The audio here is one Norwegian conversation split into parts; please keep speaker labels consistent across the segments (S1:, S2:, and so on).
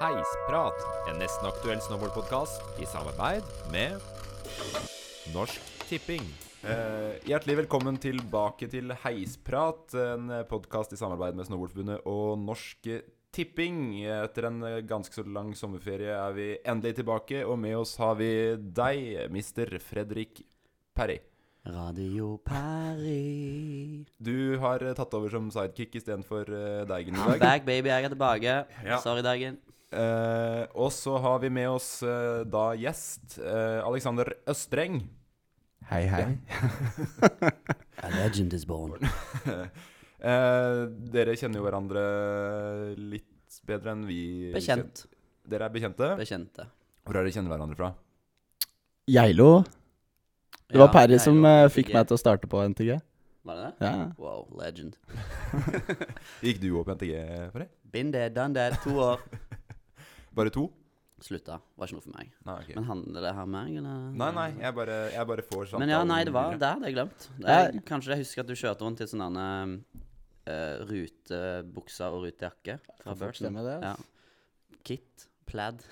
S1: Heisprat, en nesten aktuell snowboardpodkast i samarbeid med Norsk Tipping.
S2: Eh, hjertelig velkommen tilbake til Heisprat, en podkast i samarbeid med Snowboardforbundet og Norsk Tipping. Etter en ganske så lang sommerferie er vi endelig tilbake, og med oss har vi deg, mister Fredrik Perry.
S3: Radio Paris.
S2: Du har tatt over som sidekick istedenfor eh, Deigen i
S3: I'm
S2: dag.
S3: back, baby. Jeg er tilbake.
S2: Ja.
S3: Sorry, Dagen.
S2: Eh, og så har vi med oss eh, da gjest eh, Alexander Østreng.
S4: Hei, hei.
S3: A legend is born.
S2: Eh, dere kjenner jo hverandre litt bedre enn vi
S3: Bekjent.
S2: kjen- Dere er bekjente?
S3: Bekjente.
S2: Hvor er dere kjenner hverandre fra?
S4: Geilo. Det var
S3: Ja,
S4: Perry
S3: Geilo
S4: som
S3: fra
S4: eh,
S3: NTG.
S4: fikk meg til å starte på NTG.
S3: Var det det?
S4: Ja.
S3: Wow, legend.
S2: Gikk du òg på NTG for det?
S3: Been there, done that. To år.
S2: Bare to?
S3: Slutta. Var ikke noe for meg.
S2: Nei, ok.
S3: Men handler det her meg, eller?
S2: nei, nei jeg, bare, jeg bare får samtalen
S3: Men ja, nei, det var
S2: videre.
S3: Det hadde jeg glemt. Det
S4: Ja.
S3: er- kanskje jeg husker at du kjørte rundt i sånne uh, rutebukser og rutejakke fra
S4: Kan fort
S3: Burton.
S4: stemme det,
S3: Ja.
S4: ass.
S3: Kit, plaid,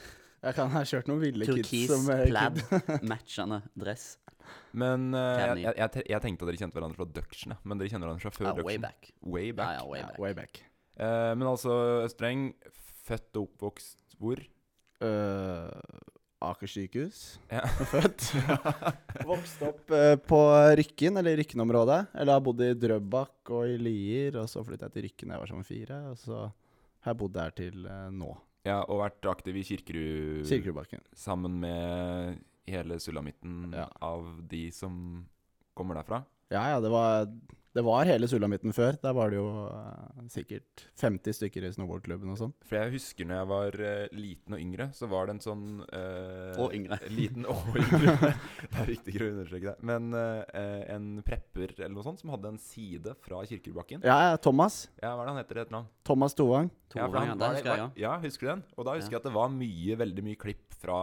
S4: Jeg kan ha kjørt noen ville kids
S3: turkis,
S4: som eh,
S3: plaid,
S4: kid.
S3: matchende dress.
S2: Men eh,
S3: Kenny.
S2: jeg, jeg, jeg, te- jeg tenkte at dere kjente hverandre fra Duction, ja. men dere kjenner hverandre fra før
S3: Ja,
S2: Duction.
S3: way back.
S2: Way
S3: Ja,
S2: back.
S3: ja, way
S4: Ja,
S3: back.
S4: way back.
S2: Eh, men altså, Østreng, født og oppvokst hvor?
S4: Øh, Aker sykehus.
S2: Ja.
S4: Født. Vokste opp eh, på Rykken, eller Rykken-området. Eller har bodd i Drøbak og i Lier, og så flytta jeg til Rykken da jeg var som fire. Og så har jeg bodd der til eh, nå.
S2: Ja, og vært aktiv i Kirkerud
S4: Kirkerudbakken.
S2: sammen med hele sulamitten
S4: Ja.
S2: av de som kommer derfra.
S4: Ja ja, det var, det var hele Sulamitten før. Der var det jo eh, sikkert 50 stykker i snowboardklubben og sånn.
S2: For jeg husker når jeg var eh, liten og yngre, så var det en sånn eh,
S3: Og yngre.
S2: Liten og yngre. det er viktigere å understreke det. Men eh, eh, en prepper eller noe sånt som hadde en side fra Kirkebakken.
S4: Ja ja, Thomas.
S2: Ja, hva er det han heter i et navn?
S4: Thomas Tovang.
S2: Ja, for
S3: Torang, ja,
S2: han
S3: det
S2: var-
S3: husker jeg, ja.
S2: var- Ja, husker du den? Og da husker jeg at det var mye, veldig mye klipp fra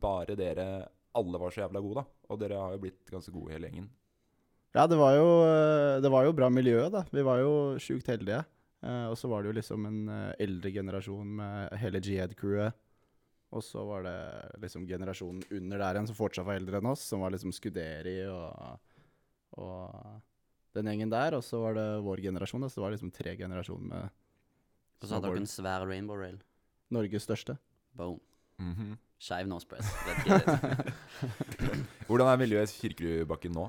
S2: bare dere. Alle var så jævla gode, da. Og dere har jo blitt ganske gode hele gjengen.
S4: Ja, det var jo, eh, det var jo bra miljø, da. Vi var jo sjukt heldige. Eh, og så var det jo liksom en eh, eldre generasjon med hele Jihad-crewet. Og så var det liksom generasjonen under der igjen som fortsatt var eldre enn oss, som var liksom Skuderi og, og den gjengen der. Og så var det vår generasjon, da. Så det var liksom tre generasjoner med
S3: Og så hadde dere en svær rainbow rail.
S4: Norges største.
S3: Boom.
S2: Mhm.
S3: Skeiv nosepress. Vet ikke helt.
S2: Hvordan er miljøet i Kirkerudbakken nå?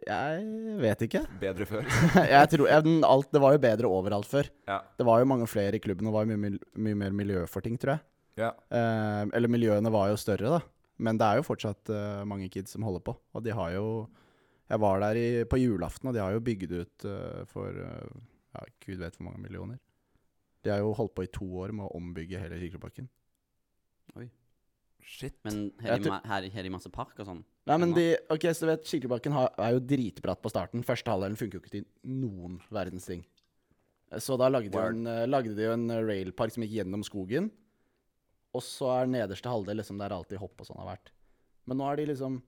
S4: Jeg vet ikke.
S2: Bedre før?
S4: jeg tror, jeg, den, alt, det var jo bedre overalt før.
S2: Ja.
S4: Det var jo mange flere i klubben, og det var jo mye, mil- mye mer miljø for ting, tror jeg.
S2: Ja.
S4: Eh, eller miljøene var jo større, da. Men det er jo fortsatt eh, mange kids som holder på. Og de har jo Jeg var der i, på julaften, og de har jo bygd ut eh, for eh, ja, gud vet hvor mange millioner. De har jo holdt på i to år med å ombygge hele Kirkebakken.
S2: Shit.
S3: Men har
S4: Jeg
S3: de,
S4: tror-
S3: ma- har de- har de masse park og sånn?
S4: Nei, men de, ok, så du vet, Kirkebakken har, er jo dritbratt på starten. Første halvdelen funker jo ikke til noen verdens ting. Så da lagde de, jo
S2: Word.
S4: en, eh, lagde de jo en eh, railpark som gikk gjennom skogen. Og så er nederste halvdel liksom der alltid hopp og sånn har vært. Men nå er de liksom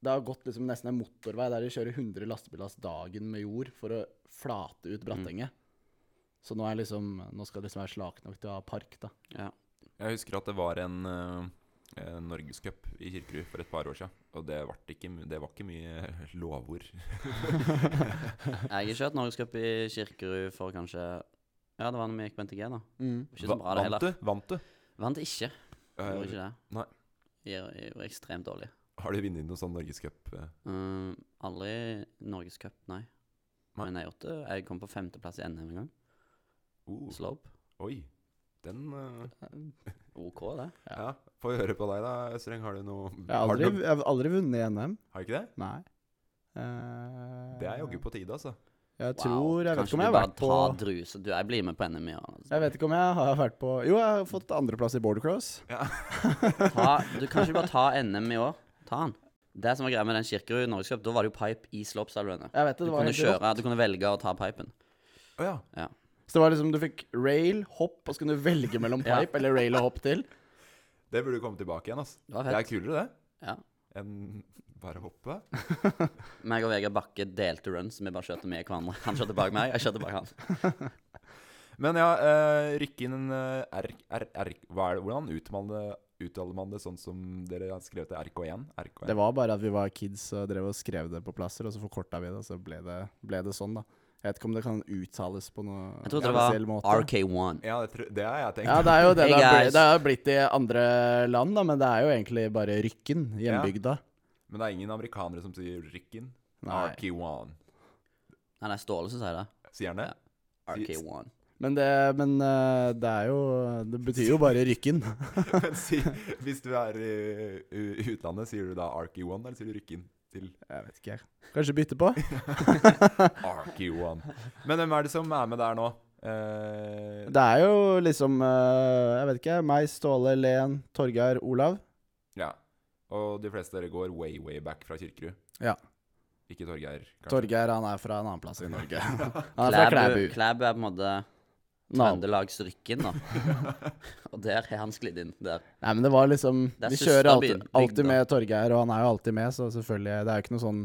S4: Det har gått liksom nesten en motorvei der de kjører 100 lastebillass dagen med jord for å flate ut Brattenget. Så nå er liksom Nå skal det liksom være slak nok til å ha park, da.
S3: Ja.
S2: Jeg husker at det var en eh, eh, Norgescup i Kirkerud for et par år siden. Og det var ikke, my- det var ikke mye lovord.
S3: Jeg har kjørt Norgescup i Kirkerud for kanskje Ja, det var når vi gikk på NTG, da.
S4: Mm.
S3: Det var Ikke så bra, det
S2: Vant
S3: heller.
S2: du? Vant du?
S3: Vant ikke.
S2: Eh,
S3: Gjorde ikke det.
S2: nei.
S3: Jeg jeg var ekstremt dårlig.
S2: har du vunnet noen sånn Norgescup? eh?
S3: Um, aldri Norgescup, nei.
S2: Nei.
S3: Men jeg gjorde det. Jeg kom på femteplass i NM en gang.
S2: Oh,
S3: Slope.
S2: oi. Den eh,
S3: OK, det.
S2: Ja, få høre på deg da, Østreng. Har du noe
S4: Jeg har
S2: har, du
S4: aldri,
S2: noe,
S4: jeg har aldri vunnet i NM.
S2: har du ikke det?
S4: Nei. Eh,
S2: Det er jaggu på tide, altså.
S4: Jeg tror Jeg vet
S3: Kanskje
S4: ikke om jeg
S3: du
S4: har
S3: bare
S4: vært på
S3: tar druse. Du, jeg blir med på NM, ja.
S4: Jeg vet ikke om jeg har vært på Jo, jeg har fått andreplass i bordercross.
S3: Ta, du kan ikke bare ta NM i år. Ta den. Det som var greia med den Kirkerud Norgescup, da var det jo pipe i slopestyle-rennet.
S4: Jeg vet det,
S3: Du
S4: det var
S3: kunne
S4: helt rått.
S3: kjøre, du kunne velge å ta pipen.
S2: Å ja.
S4: Så det var liksom, du fikk rail, hopp, og så kunne du velge mellom
S3: Ja.
S4: pipe eller rail og hopp til.
S2: Det burde komme tilbake igjen, altså.
S3: Det var
S2: Det er
S3: fett.
S2: kulere, det.
S3: Ja.
S2: Enn bare å hoppe.
S3: Meg og Vegard Bakke delte runs, vi bare kjørte med hverandre. Han kjørte bak meg, jeg kjørte bak han.
S2: Men ja, uh, rykke inn en eh, R... R, R hva er det, hvordan uttaler man, det- uttaler man det sånn som dere har skrevet det? RK1?
S4: Det
S2: RK1.
S4: var bare at vi var kids og drev og skrev det på plasser, og så forkorta vi det, og så ble det, ble det sånn, da. Jeg vet ikke om det kan uttales på noe
S3: Jeg trodde det
S4: spesiell måte.
S3: var RK1.
S2: Ja, det, tror- det har jeg tenkt.
S4: Ja, det er jo det
S3: Hey
S4: det har
S3: guys.
S4: blitt, det har blitt i andre land, da, men det er jo egentlig bare Rykken, hjembygda.
S2: Men det er ingen amerikanere som sier rykken.
S4: Nei.
S2: RK1.
S3: Nei, det er Ståle som sier det.
S2: Sier han det?
S3: Ja. RK1.
S4: Men, det, men eh, det er jo Det betyr jo bare Rykken.
S2: Men si, hvis du er i u- utlandet, sier du da RK1, eller sier du rykken til
S4: Jeg vet ikke, jeg. Kanskje bytte på?
S2: RK1? Men hvem er det som er med der nå? Eh,
S4: Det er jo liksom eh, Jeg vet ikke. Meg, Ståle, Len, Torgeir, Olav.
S2: ja. Og de fleste av dere går way, way back fra Kirkerud.
S4: Ja.
S2: Ikke Torgeir, kanskje.
S4: Torgeir han er fra en annen plass i Norge. Han er fra
S3: Klæbu,
S4: Klæbu.
S3: Klæbu er på en måte
S4: Nabo.
S3: Trøndelagsrykken, da. og der har han sklidd inn. Der.
S4: Nei, men det var liksom
S3: Det er
S4: Vi
S3: søster
S4: kjører
S3: byen,
S4: alltid,
S3: bygda.
S4: alltid med Torgeir, og han er jo alltid med, så selvfølgelig Det er jo ikke noe sånn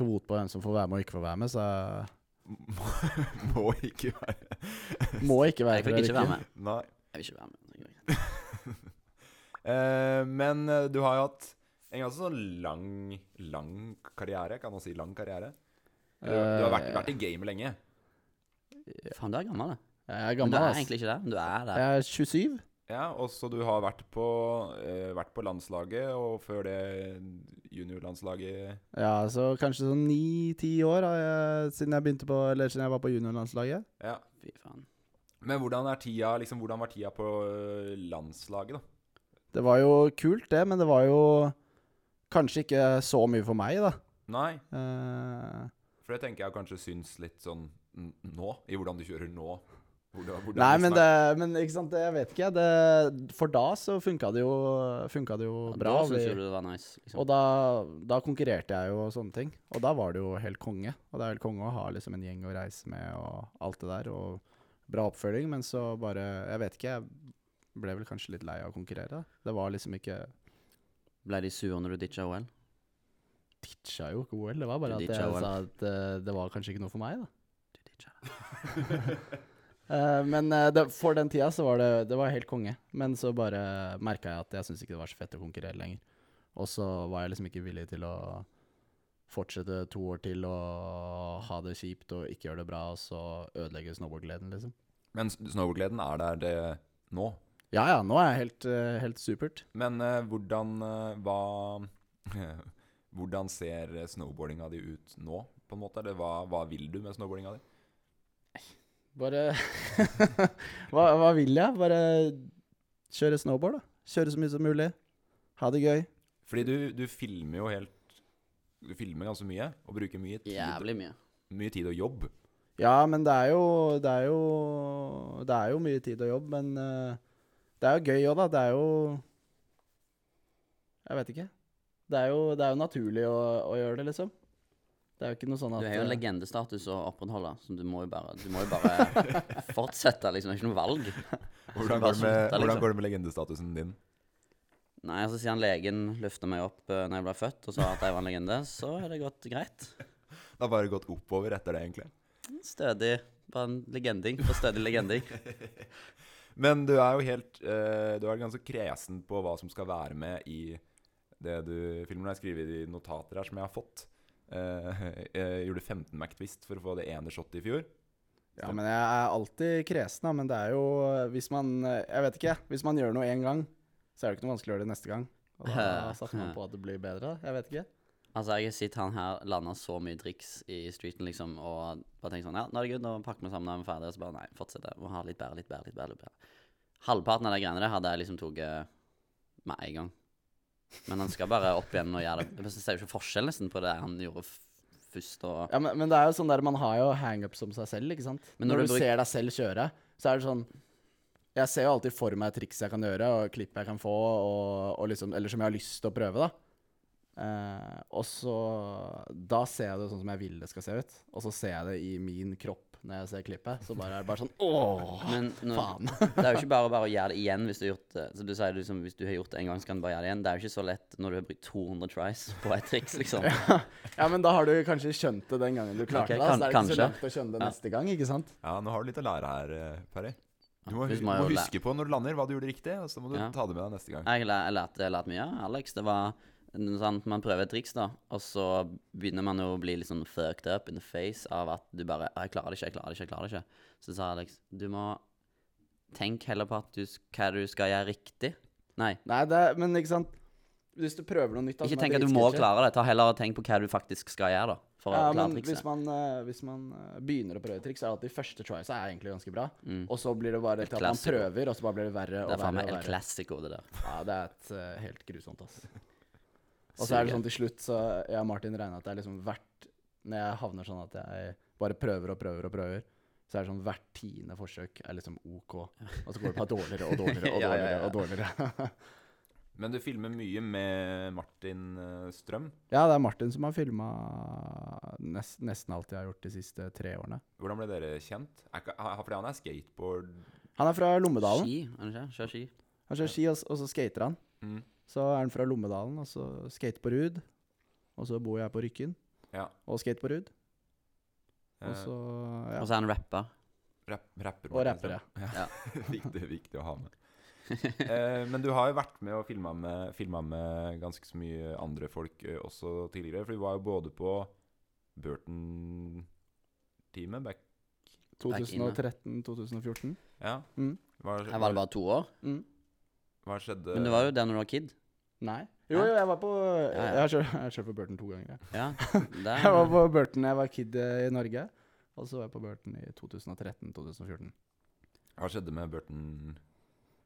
S4: kvote på hvem som får være med og ikke får være med, så
S2: Må ikke være
S4: må ikke
S3: Jeg
S4: være
S3: fikk ikke være
S4: Rykken.
S3: med.
S2: Nei.
S3: Jeg vil ikke være med.
S2: Eh, men eh, du har jo hatt en ganske sånn lang, lang karriere. Kan man si lang karriere? Eller, du har vært,
S4: Eh,
S2: vært i gamet lenge.
S3: Faen, du er gammel, da.
S4: Jeg er
S3: Men du
S4: gammel,
S3: er
S4: ass.
S3: egentlig ikke det. Men du er det.
S4: Jeg er 27.
S2: Ja, og så du har vært på, eh, vært på landslaget, og før det juniorlandslaget
S4: Ja, så kanskje sånn ni-ti år har jeg, siden jeg begynte på Eller siden jeg var på juniorlandslaget.
S2: Ja.
S3: Fy faen.
S2: Men hvordan, er tida, liksom, hvordan var tida på eh, landslaget, da?
S4: Det var jo kult, det, men det var jo kanskje ikke så mye for meg, da.
S2: Nei,
S4: Eh,
S2: for det tenker jeg kanskje syns litt sånn n- nå, i hvordan du kjører nå. Hvordan, hvordan
S4: nei,
S2: du liksom
S4: men,
S2: snakker-
S4: det, men ikke sant, det, jeg vet ikke. Det, for da så funka det jo, funka det jo bra.
S3: Da syns
S4: vi-
S3: jo du det var nice. Liksom.
S4: Og da, da konkurrerte jeg jo og sånne ting. Og da var det jo helt konge. Og det er helt konge å ha liksom en gjeng å reise med og alt det der, og bra oppfølging. Men så bare Jeg vet ikke, jeg ble vel kanskje litt lei av å konkurrere. Det var liksom ikke
S3: Ble de sure når du ditcha OL?
S4: Ditcha jo ikke OL, det var bare
S3: Du
S4: at
S3: ditcha
S4: jeg
S3: OL.
S4: sa at eh, det var kanskje ikke noe for meg, da.
S3: Du ditcha det.
S4: Eh, men eh, det, for den tida så var det, det var helt konge. Men så bare merka jeg at jeg syntes ikke det var så fett å konkurrere lenger. Og så var jeg liksom ikke villig til å fortsette to år til og ha det kjipt og ikke gjøre det bra, og så ødelegge snowboardgleden, liksom.
S2: Men s- snowboardgleden er der det nå.
S4: Ja ja, nå er jeg helt, eh, helt supert.
S2: Men eh, hvordan eh, hva Hvordan ser snowboardinga di ut nå, på en måte? Eller hva, hva vil du med snowboardinga di?
S4: Bare hva, hva vil jeg? Bare kjøre snowboard, da. Kjøre så mye som mulig. Ha det gøy.
S2: Fordi du, du filmer jo helt Du filmer ganske mye, og bruker mye tid,
S3: Jævlig mye.
S2: mye tid og jobb.
S4: Ja, men det er jo Det er jo, det er jo mye tid og jobb, men eh, det er jo gøy òg, da. Det er jo Jeg vet ikke. Det er jo, det er jo naturlig å, å gjøre det, liksom. Det er jo ikke noe sånn
S3: Du
S4: at
S3: har jo en
S4: eh,
S3: legendestatus å opprettholde, så du må jo bare, du må jo bare fortsette, liksom. Det er ikke noe valg.
S2: Hvordan går, det
S3: Bare
S2: med,
S3: slutte, liksom.
S2: hvordan går det med legendestatusen din?
S3: Nei, altså siden legen løfta meg opp uh, når jeg ble født og sa at jeg var en legende, så er det gått greit.
S2: Det har bare gått oppover etter det, egentlig.
S3: Stødig. Bare en legending på stødig legending.
S2: Men du er jo helt eh, Du er ganske kresen på hva som skal være med i det du filmer. Jeg skriver i de notater her som jeg har fått. Eh, jeg gjorde 15 McTwist for å få det ene shotet i fjor.
S4: Ja, men jeg er alltid kresen, da. Men det er jo Hvis man eh, Jeg vet ikke. Hvis man gjør noe én gang, så er det ikke noe vanskelig å gjøre det neste gang. Og da satser man på at det blir bedre. Jeg vet ikke.
S3: Altså, jeg har sett han her lande så mye triks i streeten, liksom, og bare tenke sånn Ja, nå er det good, nå pakker vi sammen, nå er vi ferdige. Og så bare nei, fortsette. Må ha litt bedre, litt bedre, litt bedre. Litt bedre. Halvparten av de greiene der hadde jeg liksom tatt eh, med en gang. Men han skal bare opp igjen og gjøre det. Men så ser jeg jo ikke forskjell nesten på det han gjorde f først og
S4: Ja, men, men det er jo sånn der man har jo hangups om seg selv, ikke sant?
S3: Men
S4: Men
S3: når
S4: når,
S3: du
S4: du
S3: bruk-
S4: ser deg selv kjøre, så er det sånn Jeg ser jo alltid for meg triks jeg kan gjøre, og klipp jeg kan få, og, og liksom, eller som jeg har lyst til å prøve, da. Eh, og så Da ser jeg det sånn som jeg vil det skal se ut, og så ser jeg det i min kropp når jeg ser klippet. Så bare er det bare sånn Åh!
S3: Men nå,
S4: faen.
S3: det er jo ikke bare bare å gjøre det igjen hvis du har gjort det. Så du sier liksom, hvis du har gjort det en gang, så kan du bare gjøre det igjen. Det er jo ikke så lett når du har brukt 200 tries på et triks, liksom.
S4: Ja, men da har du kanskje skjønt det den gangen du klarte
S3: Ok,
S4: det.
S3: kan-
S4: så det er det ikke så
S3: kanskje.
S4: lett å skjønne det
S3: Ja.
S4: neste gang, ikke sant?
S2: Ja, nå har du litt å lære her, eh, Parry. Du må,
S3: Hvis
S2: du
S3: man
S2: må
S3: jo læ-
S2: huske på når du lander, hva du gjorde riktig, og så må du
S3: Ja.
S2: ta det med deg neste gang.
S3: Jeg lærte, jeg lærte, jeg lærte mye av Alex. Det var n- sant, Man prøver et triks, da, og så begynner man jo å bli litt sånn fucked up in the face av at du bare «Ah, 'Jeg klarer det ikke, jeg klarer det ikke.' jeg klarer det ikke. Så sa Alex, du må tenke heller på at du, s- hva du skal gjøre riktig. Nei.
S4: Nei, det, er- men ikke sant Hvis du prøver noe nytt da,
S3: Ikke
S4: som er
S3: tenk at du må
S4: dritsketchy.
S3: klare det. Ta heller og Tenk på hva du faktisk skal gjøre, da. For
S4: Ja,
S3: å klare
S4: men
S3: trikset.
S4: hvis man, eh, hvis man eh, begynner å prøve et triks, er det at de første triesa er egentlig ganske bra.
S3: Mm.
S4: Og så blir det bare til at man
S3: Classico.
S4: prøver, og så bare blir det verre
S3: Det
S4: og
S3: er faen
S4: verre.
S3: meg El
S4: og verre.
S3: Classico, det der.
S4: Ja, det er et, eh, helt grusomt, ass. Og så er det sånn til slutt, så jeg og Martin regner at det er liksom hvert Når jeg havner sånn at jeg bare prøver og prøver og prøver, så er det sånn hvert tiende forsøk er liksom OK. Og så går det bare dårligere og dårligere og
S3: Ja, ja,
S4: dårligere.
S3: ja.
S4: og dårligere.
S2: Men du filmer mye med Martin eh, Strøm.
S4: ja, det er Martin som har filma nest, nesten alt jeg har gjort de siste tre årene.
S2: Hvordan ble dere kjent? Er ikke, ha- fordi han er skateboard
S4: Han er fra Lommedalen.
S3: Ski, er det ikke? Kjør ski.
S4: Han kjører ski, og, s- og så skater han.
S2: Mm.
S4: Så er han fra Lommedalen, og så skater på Rud. Og så bor jeg på Rykken
S2: Ja.
S4: og skater på Rud.
S2: eh,
S4: Og så ja.
S3: Og så er han rapper.
S2: rapp, rapper.
S4: Og
S2: Martin
S4: rapper, ja.
S2: Strøm. viktig, viktig å ha med. Eh, men du har jo vært med og filma med, filma med ganske så mye andre folk eh, også tidligere. For du var jo både på Burton-teamet back...
S4: 2013-2014.
S2: Ja.
S4: Mm.
S2: Hva,
S3: Her var det bare to år.
S4: Mm.
S2: hva skjedde
S3: Men du var jo der når du var kid.
S4: Nei. Jo, jo, jeg var på
S3: ja.
S4: Jeg har kjørt, jeg har kjørt på Burton to ganger. Jeg.
S3: Ja.
S4: jeg var
S3: Der.
S4: på Burton da jeg var kid eh, i Norge, og så var jeg på Burton i 2013-2014.
S2: Hva skjedde med Burton?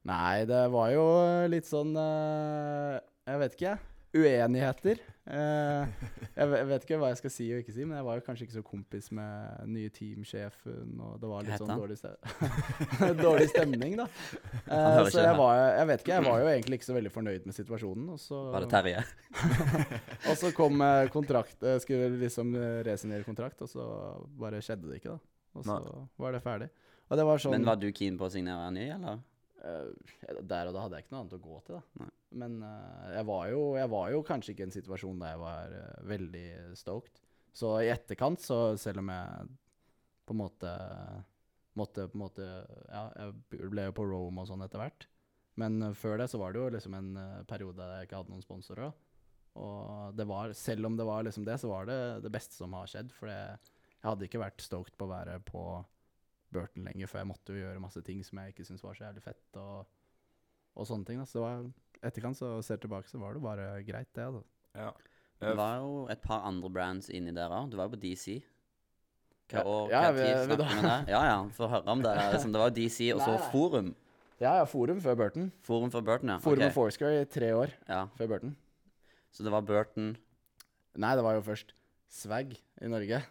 S4: Nei, det var jo eh, litt sånn eh, Jeg vet ikke, jeg. Uenigheter. Eh, jeg ve- jeg vet ikke hva jeg skal si og ikke si, men jeg var jo kanskje ikke så kompis med nye teamsjefen, og det var
S3: Hva
S4: litt
S3: het
S4: sånn
S3: han?
S4: dårlig, ste dårlig stemning, da. Eh,
S3: hører ikke
S4: så
S3: det her.
S4: jeg var, jeg vet ikke, jeg var jo egentlig ikke så veldig fornøyd med situasjonen, og så
S3: Var det Terje?
S4: Og så kom eh, kontrakt eh, Skulle liksom eh, resignere kontrakt, og så bare skjedde det ikke, da. Og så var det ferdig. Og det var sånn
S3: Men var du keen på å signere en ny, eller?
S4: eh, Der og da hadde jeg ikke noe annet å gå til, da.
S3: Nei.
S4: Men eh, jeg, var jo, jeg var jo kanskje ikke i en situasjon der jeg var eh, veldig stoked. Så i etterkant, så selv om jeg på en måte måtte på en måte Ja, jeg ble jo på Rome og sånn etter hvert. Men eh, før det så var det jo liksom en eh, periode der jeg ikke hadde noen sponsorer. da. Og det var, selv om det var liksom det, så var det det beste som har skjedd. For jeg, jeg hadde ikke vært stoked på å være på Burton lenger, for jeg måtte jo gjøre masse ting som jeg ikke syntes var så jævlig fett, og, og sånne ting. Da. Så det var, etterkant, så ser jeg tilbake, så var det bare greit, det. Altså.
S2: Ja. Eh,
S3: Det var jo et par andre brands inni der òg. Du var jo på DC. Hva
S4: Ja,
S3: år,
S4: ja,
S3: hva
S4: vi-
S3: tid
S4: vi
S3: snakker
S4: da-
S3: vi om det? Ja, ja, få høre om det. Liksom, det var jo DC, og så
S4: Nei, nei.
S3: Forum.
S4: Ja, ja, Forum før Burton.
S3: Forum for Burton, ja.
S4: Forum
S3: Ok,
S4: og Foursquare i tre år
S3: ja.
S4: før Burton.
S3: Så det var Burton
S4: Nei, det var jo først Swag i Norge.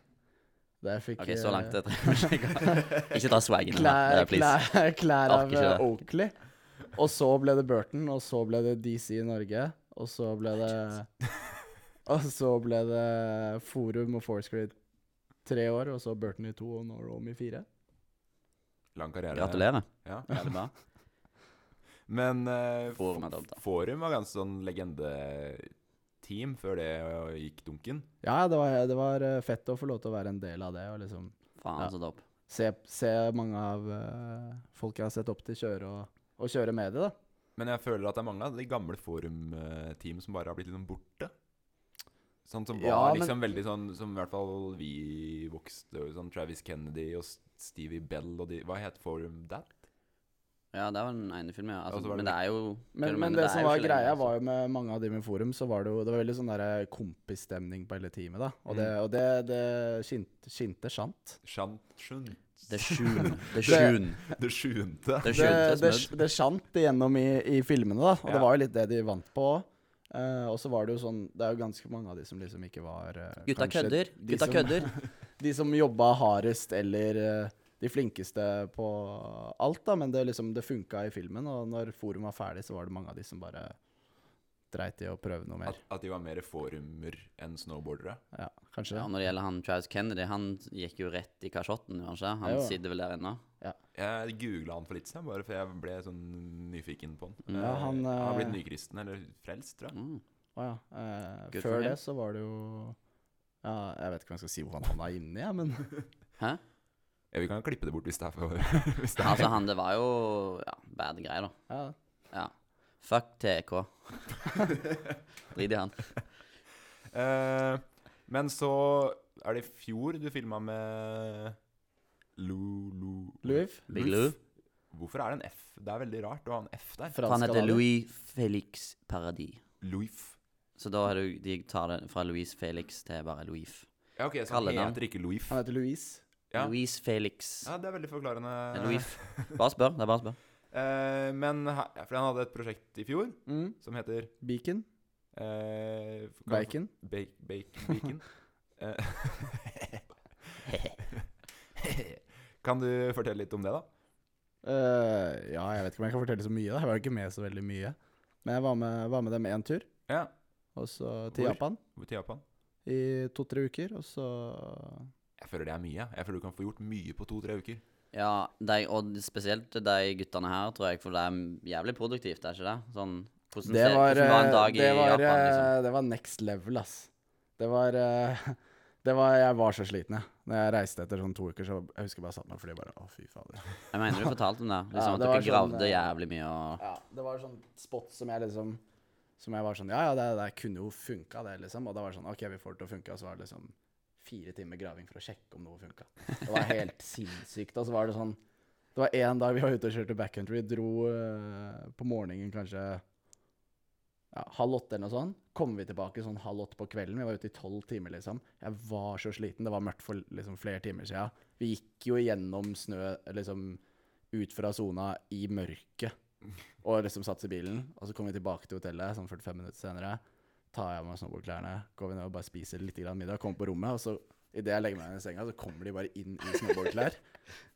S4: Der jeg fikk
S3: OK, så langt
S4: eh,
S3: det trenger vi ikke gå. Ikke dra swaggen inn her,
S4: klær,
S3: eh, please.
S4: klær, klær av
S3: Orker ikke det.
S4: eh, Oakley. Og så ble det Burton, og så ble det DC i Norge, og så ble det Og så ble det Forum og Foursquare i tre år, og så Burton i to og nå Rome i fire.
S2: Lang karriere.
S3: Gratulerer.
S2: Ja.
S3: Veldig bra.
S2: Men eh,
S3: Forum er dumt, da.
S2: Forum var ganske sånn legendeteam før det eh, gikk dunken.
S4: Ja, det var, det var eh, fett å få lov til å være en del av det, og liksom Ja.
S3: Faen, så dope.
S4: se, se mange av eh, folk jeg har sett opp til, kjøre og, og kjøre med det, da.
S2: Men jeg føler at det er mange av de gamle Forum-team som bare har blitt litt sånn borte. Sånn som var
S4: Ja, men-
S2: liksom veldig sånn Som i hvert fall vi vokste Sånn Travis Kennedy og S- Stevie Bell og de Hva het Forum That?
S3: Ja, det var den ene filmen, ja.
S2: Og så
S3: Altså,
S2: var det
S3: men det er jo hva du
S4: Men, men
S3: mener,
S4: det,
S3: er jo
S4: som var
S3: ikke lenger,
S4: greia,
S3: altså.
S4: var jo med mange av de med forum, så var det jo Det var veldig sånn der kompisstemning på hele teamet, da. Og
S3: Mm.
S4: det, og det, det skinte, skinte sant.
S2: Shantshun
S3: Det er sjun. Det er sjun.
S2: Det sjuende.
S3: Det er
S4: Det,
S3: sjun til
S4: det,
S3: smudd.
S4: det skjant igjennom i, i filmene, da. Og
S2: Ja.
S4: det var jo litt det de vant på òg. og så var det jo sånn Det er jo ganske mange av de som liksom ikke var eh,
S3: Gutta
S4: kanskje
S3: kødder.
S4: de
S3: Gutta
S4: som-
S3: kødder.
S4: de som jobba hardest eller eh, de flinkeste på alt, da, men det, liksom, det funka i filmen. Og når Forum var ferdig, så var det mange av de som bare dreit i å prøve noe mer.
S2: At, at de var mer forumer enn snowboardere.
S4: Ja. kanskje.
S3: Ja, når det gjelder han Travis Kennedy, han gikk jo rett i kasjotten, gjorde han ikke? Han
S4: Jo, ja.
S3: sitter vel der ennå.
S2: Jeg googla han for litt siden, bare for jeg ble sånn nyfiken på han.
S4: Ja,
S2: Eh, han
S4: han,
S2: har
S4: eh,
S2: blitt nykristen, eller frelst, tror jeg.
S3: Mm.
S4: Å ja. eh,
S3: Good for
S4: før
S3: him.
S4: det så var det jo ja, Jeg vet ikke om jeg skal si hvordan han er inni, jeg, men
S3: Hæ?
S2: Ja, vi kan klippe det bort hvis det er for hvis det er.
S3: Altså, han, det var jo ja, bad greier, da.
S4: ja.
S3: Ja. Fuck TK. Drit i han.
S2: Eh, men så er det i fjor du filma med Lou, Lou
S4: Louis.
S3: Big Lou.
S2: Hvorfor er det en F? Det er veldig rart å ha en F der.
S4: fransk
S3: Han heter
S4: kanadier.
S3: Louis Felix Paradis.
S2: Louis.
S3: Så da har du, de tar det fra Louis Felix til bare Louis.
S2: Ja, ok, så han
S3: Kallenavn.
S2: heter ikke Louis.
S4: Han heter Louise.
S2: Ja.
S3: Louis Felix.
S2: Ja, det er veldig forklarende.
S3: Eh, Louis. Bare spør. Det er bare å spørre.
S2: Eh, men he- ja, for han hadde et prosjekt i fjor
S4: Mm.
S2: som heter
S4: Beacon.
S2: eh, kan-
S4: Bacon.
S2: Bake, bake, bacon. Eh, kan du fortelle litt om det, da?
S4: Eh, ja, jeg vet ikke om jeg kan fortelle så mye. da Jeg var ikke med så veldig mye. Men jeg var med, var med dem én tur,
S2: Ja.
S4: og så til
S2: Hvor?
S4: Japan
S2: Hvor til Japan?
S4: i to-tre uker, og så
S2: Jeg føler det er mye. jeg. Jeg føler du kan få gjort mye på to-tre uker.
S3: Ja, de, og spesielt de guttene her, tror jeg, for det er jævlig produktivt, er ikke det? Sånn, hvordan,
S4: Det
S3: ser,
S4: var,
S3: hvordan var en
S4: eh,
S3: dag
S4: det
S3: i
S4: var,
S3: Japan, liksom?
S4: eh, Det var next level, ass. Det var, eh, det var Jeg var så sliten, jeg. Når jeg reiste etter sånn to uker, så jeg husker jeg bare satt meg på flyet og bare Å, fy fader.
S3: Jeg mener du fortalte om det. Liksom
S4: Ja,
S3: at
S4: det
S3: dere
S4: var sånn,
S3: gravde
S4: eh,
S3: jævlig mye og
S4: Ja, det var sånn spot som jeg liksom Som jeg var sånn Ja, ja, det, det kunne jo funka, det, liksom. Og da var det sånn OK, vi får det til å funke. Og så var det liksom fire timer graving for å sjekke om noe funka. Det var helt sinnssykt. Og så var det sånn Det var én dag vi var ute og kjørte backcountry. Dro eh, på morgenen kanskje ja, halv åtte eller noe sånt. Kom vi tilbake sånn halv åtte på kvelden. Vi var ute i tolv timer, liksom. Jeg var så sliten. Det var mørkt for liksom, flere timer sia. Vi gikk jo gjennom snø, liksom ut fra sona i mørket og liksom satt i bilen. Og så kom vi tilbake til hotellet sånn 45 minutter senere. Tar jeg av meg snowboardklærne, går vi ned og bare spiser litt grann middag, kommer på rommet, og så idet jeg legger meg ned i senga, så kommer de bare inn i snowboardklær.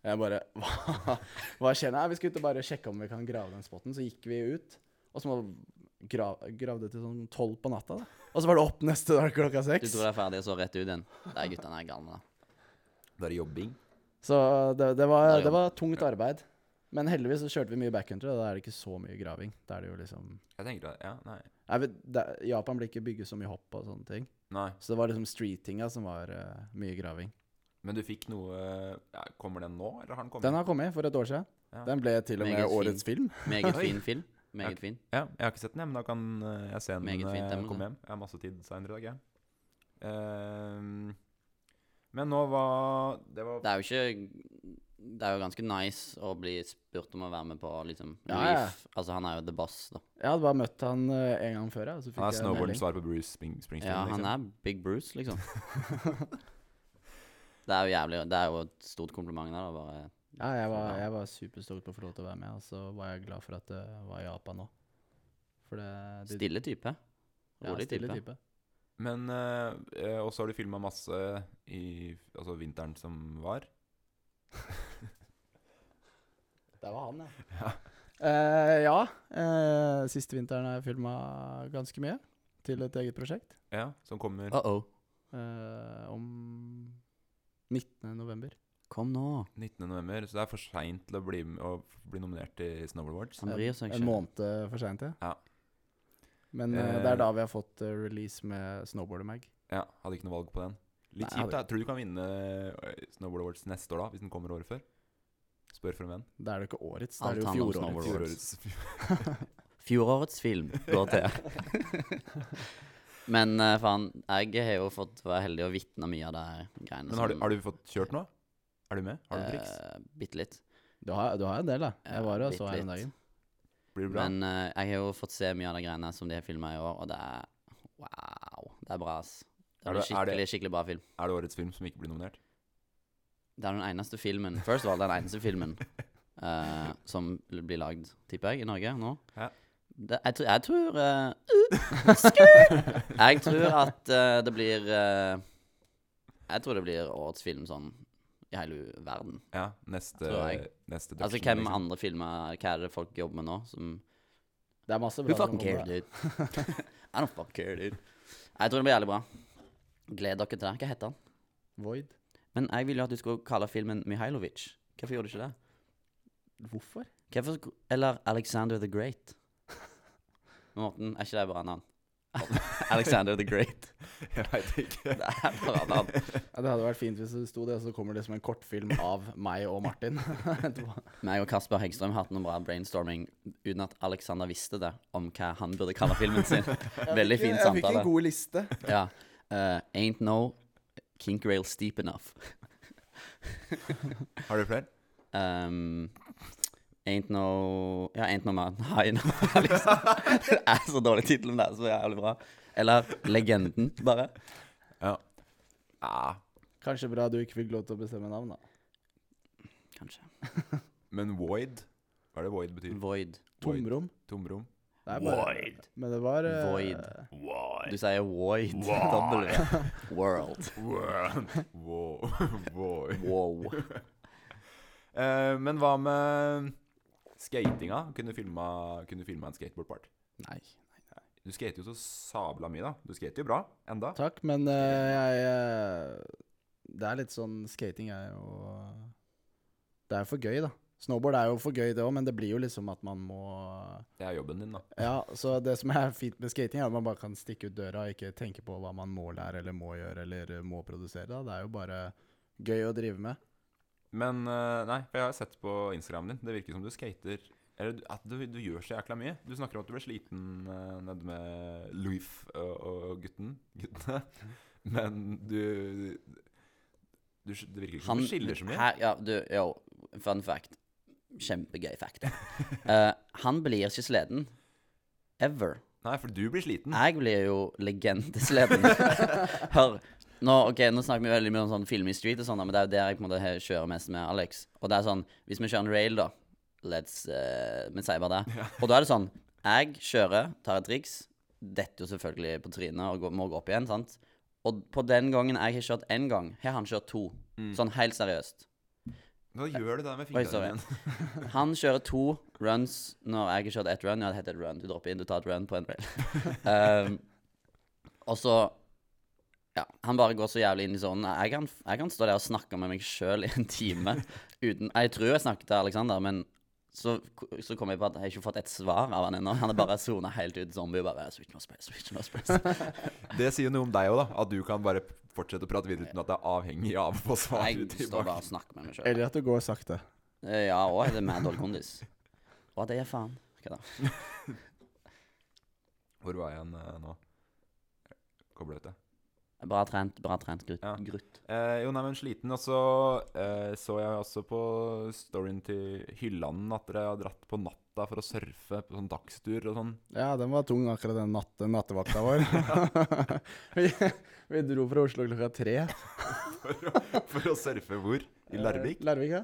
S4: Jeg bare Hva, hva skjer nå? Nei, Vi skulle ut og bare sjekke om vi kan grave den spotten. Så gikk vi ut, og så må gra, gravde til sånn tolv på natta. da. Og så var det opp neste dag klokka
S3: Du
S4: seks.
S3: tror det er ferdig, og så rett ut igjen. De guttene er galne.
S2: Det er jobbing.
S4: Så det, det, var,
S3: Der, ja.
S4: det var tungt arbeid. Men heldigvis så kjørte vi mye backcountry, og da er det ikke så mye graving. Da er det jo liksom
S2: Jeg tenker at, ja, nei.
S4: Nei, men det, Japan ble ikke bygget så mye hopp og sånne ting.
S2: nei.
S4: Så det var liksom streetinga som var eh, mye graving.
S2: Men du fikk noe ja, Kommer den nå, eller har den kommet?
S4: Den har kommet for et år siden.
S2: Ja.
S4: Den ble til og med
S3: Meget fin.
S4: årets film.
S3: Meget
S2: Oi.
S3: fin film. Meget fin.
S2: Ja, jeg har ikke sett den, jeg, men da kan eh, jeg se den
S3: Meget
S2: når
S3: fint,
S2: jeg
S3: Emil, det.
S2: kommer hjem. Jeg har masse tid seinere i dag, jeg. Ehm, men nå var Det var
S3: Det er jo ikke Det er jo ganske nice å bli spurt om å være med på liksom
S4: Ja, ja.
S3: Reef. Altså, han er jo the boss, da.
S4: Jeg hadde bare møtt han eh, en gang før. Ja, og så fikk
S2: Han er
S4: jeg en
S2: snowboardens
S4: melding.
S2: svar på Bruce Spring Springsteen.
S3: Ja, han
S2: liksom.
S3: er Big Bruce, liksom. det er jo jævlig Det er jo et stort kompliment der, da. Bare
S4: Ja, jeg var, jeg var superstolt på å få lov til å være med, og så var jeg glad for at det var Japan òg. For det de-
S3: stille type.
S4: ja,
S3: Rolig
S4: stille
S3: type.
S4: type.
S2: Men uh, Og så har du filma masse i altså, vinteren som var.
S4: Der var han, ja. Eh, ja. eh, siste vinteren har jeg filma ganske mye til et eget prosjekt.
S2: Ja, som kommer
S3: Uh -oh.
S4: eh, om 19. november.
S3: Kom nå.
S2: 19. november så det er for seint til å bli, å bli nominert til Snowboard Awards.
S3: Han bryr seg
S4: En
S3: ikke.
S4: måned for seint,
S2: Ja.
S4: Men eh, det
S2: Eh,
S4: er da vi har fått eh, release med Snowboarder Mag.
S2: Ja, hadde ikke noe valg på den. Litt
S4: Nei,
S2: kjipt,
S4: hadde
S2: da. Tror du du kan vinne eh, Snowboard Awards neste år, da? Hvis den kommer året før? Spør for en venn.
S4: Da er det ikke årets, da
S3: Alt
S4: er det jo
S3: handler om
S4: fjorårets.
S3: Snowboard
S2: Fjorårets
S3: Awards. Fjorårets film går til. Men eh, faen, jeg har jo fått være heldig å vitne mye av det her greiene.
S2: Men har du,
S3: som,
S2: har du fått kjørt nå? Er du med? Har du noen triks?
S3: eh, bitte litt.
S4: Du har, du har en del, da.
S3: Ja,
S4: Jeg var og
S3: bitte
S4: så her den
S3: litt.
S4: dagen.
S2: Blir det bra?
S3: Men eh, jeg har jo fått se mye av de greiene som de har filma i år, og det er wow. Det er bra, ass. Det
S2: Er
S3: er, en
S2: det- er det-
S3: skikkelig, skikkelig bra film.
S2: er det årets film som ikke blir nominert?
S3: Det er den eneste filmen First of all, det er den eneste filmen eh, som l- blir lagd, tipper jeg, i Norge nå.
S2: Ja.
S3: Det, jeg, tr- jeg tror eh, skrur! Jeg tror at eh, det blir eh, Jeg tror det blir årets film sånn i hele verden.
S2: Ja, neste,
S3: Tror jeg.
S2: neste
S3: Altså
S2: dødsfilm,
S3: hvem
S2: liksom.
S3: andre filmer Hva er det folk jobber med nå? Som
S4: Det er masse
S3: Who
S4: bra.
S3: fucking
S4: som kommer,
S3: cares, dude? I don't fucking care, dude. Jeg tror det blir jævlig bra. Gled dere til det. Hva heter han?
S4: Void.
S3: Men jeg ville jo at du skulle kalle filmen Mihailovic. Hvorfor gjorde du ikke det?
S4: Hvorfor?
S3: Hvorfor sku- Eller Alexander the Great. Men Morten, er ikke det bare en annen? Alexander the Great.
S2: Jeg veit ikke.
S3: Det er bare en annen.
S4: Ja, det hadde vært fint hvis det sto det, og så kommer det liksom en kortfilm av meg og Martin. etterpå.
S3: Meg og Kasper Hegstrøm hadde noe bra brainstorming uten at Alexander visste det, om hva han burde kalle filmen sin. Veldig fin
S4: Jeg fikk
S3: samtale.
S4: en god liste.
S3: Ja. Eh, ain't no kink rail steep enough.
S2: Har du flere?
S3: Um, ain't no Ja, ain't no man high enough. Liksom. Det er så dårlig tittel, men det er så jævlig bra. Eller Legenden, bare.
S2: Ja,
S4: Kanskje bra du ikke fikk lov til å bestemme navn, da.
S3: Kanskje.
S2: men void? Hva er det void betyr?
S3: Void.
S2: Void.
S4: Tomrom.
S2: Tomrom?
S4: Det er bare, Men det var eh,
S3: Void. Du sier void. W. World.
S2: Wow. Void.
S3: Wow.
S2: Eh, men hva med skatinga? Kunne du filma, kunne du filma en skateboardpart?
S4: Nei.
S2: Du skater jo så sabla mye, da. Du skater jo bra enda.
S4: Takk, men eh, jeg eh, Det er litt sånn Skating er jo Det er jo for gøy, da. Snowboard er jo for gøy, det òg, men det blir jo liksom at man må
S2: Det er jobben din, da.
S4: Ja, så det som er fint med skating, er at man bare kan stikke ut døra og ikke tenke på hva man må lære eller må gjøre eller eh, må produsere. Da. Det er jo bare gøy å drive med.
S2: Men eh, nei, for jeg har sett på Instagramen din. Det virker som du skater Eller du- at du, du gjør så jækla mye. Du snakker om at du ble sliten eh, nede med Louif og, og gutten, guttene. Men du, du sk- Det virker ikke som du skiller så mye.
S3: Her, ja, du, jo, fun fact. Kjempegøy fact. Eh, han blir ikke sliten. Ever.
S2: Nei, for du blir sliten.
S3: Jeg blir jo legendesleden. Hør, nå, ok, nå snakker vi veldig mye om sånn film i street og sånn, da, men det er jo der jeg på en måte he- kjører mest med Alex. Og det er sånn, hvis vi kjører en rail, da Let's eh, Vi sier bare det. Og da er det sånn Jeg kjører, tar et triks, detter jo selvfølgelig på trynet og går, må gå opp igjen, sant. Og på den gangen jeg har kjørt én gang, har han kjørt to.
S2: Mm.
S3: Sånn helt seriøst.
S2: Da gjør du det der med
S3: Oi, sorry.
S2: fingrene dine.
S3: Han kjører to runs når jeg har kjørt ett run. Ja, det heter et run. Du dropper inn, du tar et run på en
S2: Eh.
S3: rail. um, og så Ja, han bare går så jævlig inn i sånn. Jeg kan, jeg kan stå der og snakke med meg sjøl i en time uten Jeg tror jeg snakket til Alexander, men så, så kom jeg på at jeg har ikke fått et svar av han ennå. Han er bare sona helt ut zombie og bare Switch no space, switch no space.
S2: Det sier jo noe om deg òg, da. At du kan bare fortsette å prate videre uten at det er avhengig av å få svar
S3: Jeg står bare
S2: tilbake.
S3: og snakker med meg sjøl.
S4: Eller at du går sakte.
S3: Ja, og er det mad dårlig kondis. Å, det er faen. Hva da?
S2: Hvor var jeg igjen eh, nå? Koblet det.
S3: Bra trent, bra trent, grutt.
S2: Ja.
S3: grutt.
S2: Eh, jo, nei, men sliten. Og så eh, så jeg også på storyen til Hylland at dere har dratt på natta for å surfe på sånn dagstur og sånn.
S4: Ja, den var tung akkurat den natt, nattevakta vår. vi, vi dro fra Oslo klokka tre.
S2: For å, for å surfe hvor? I Larvik?
S4: Eh, Larvik, ja.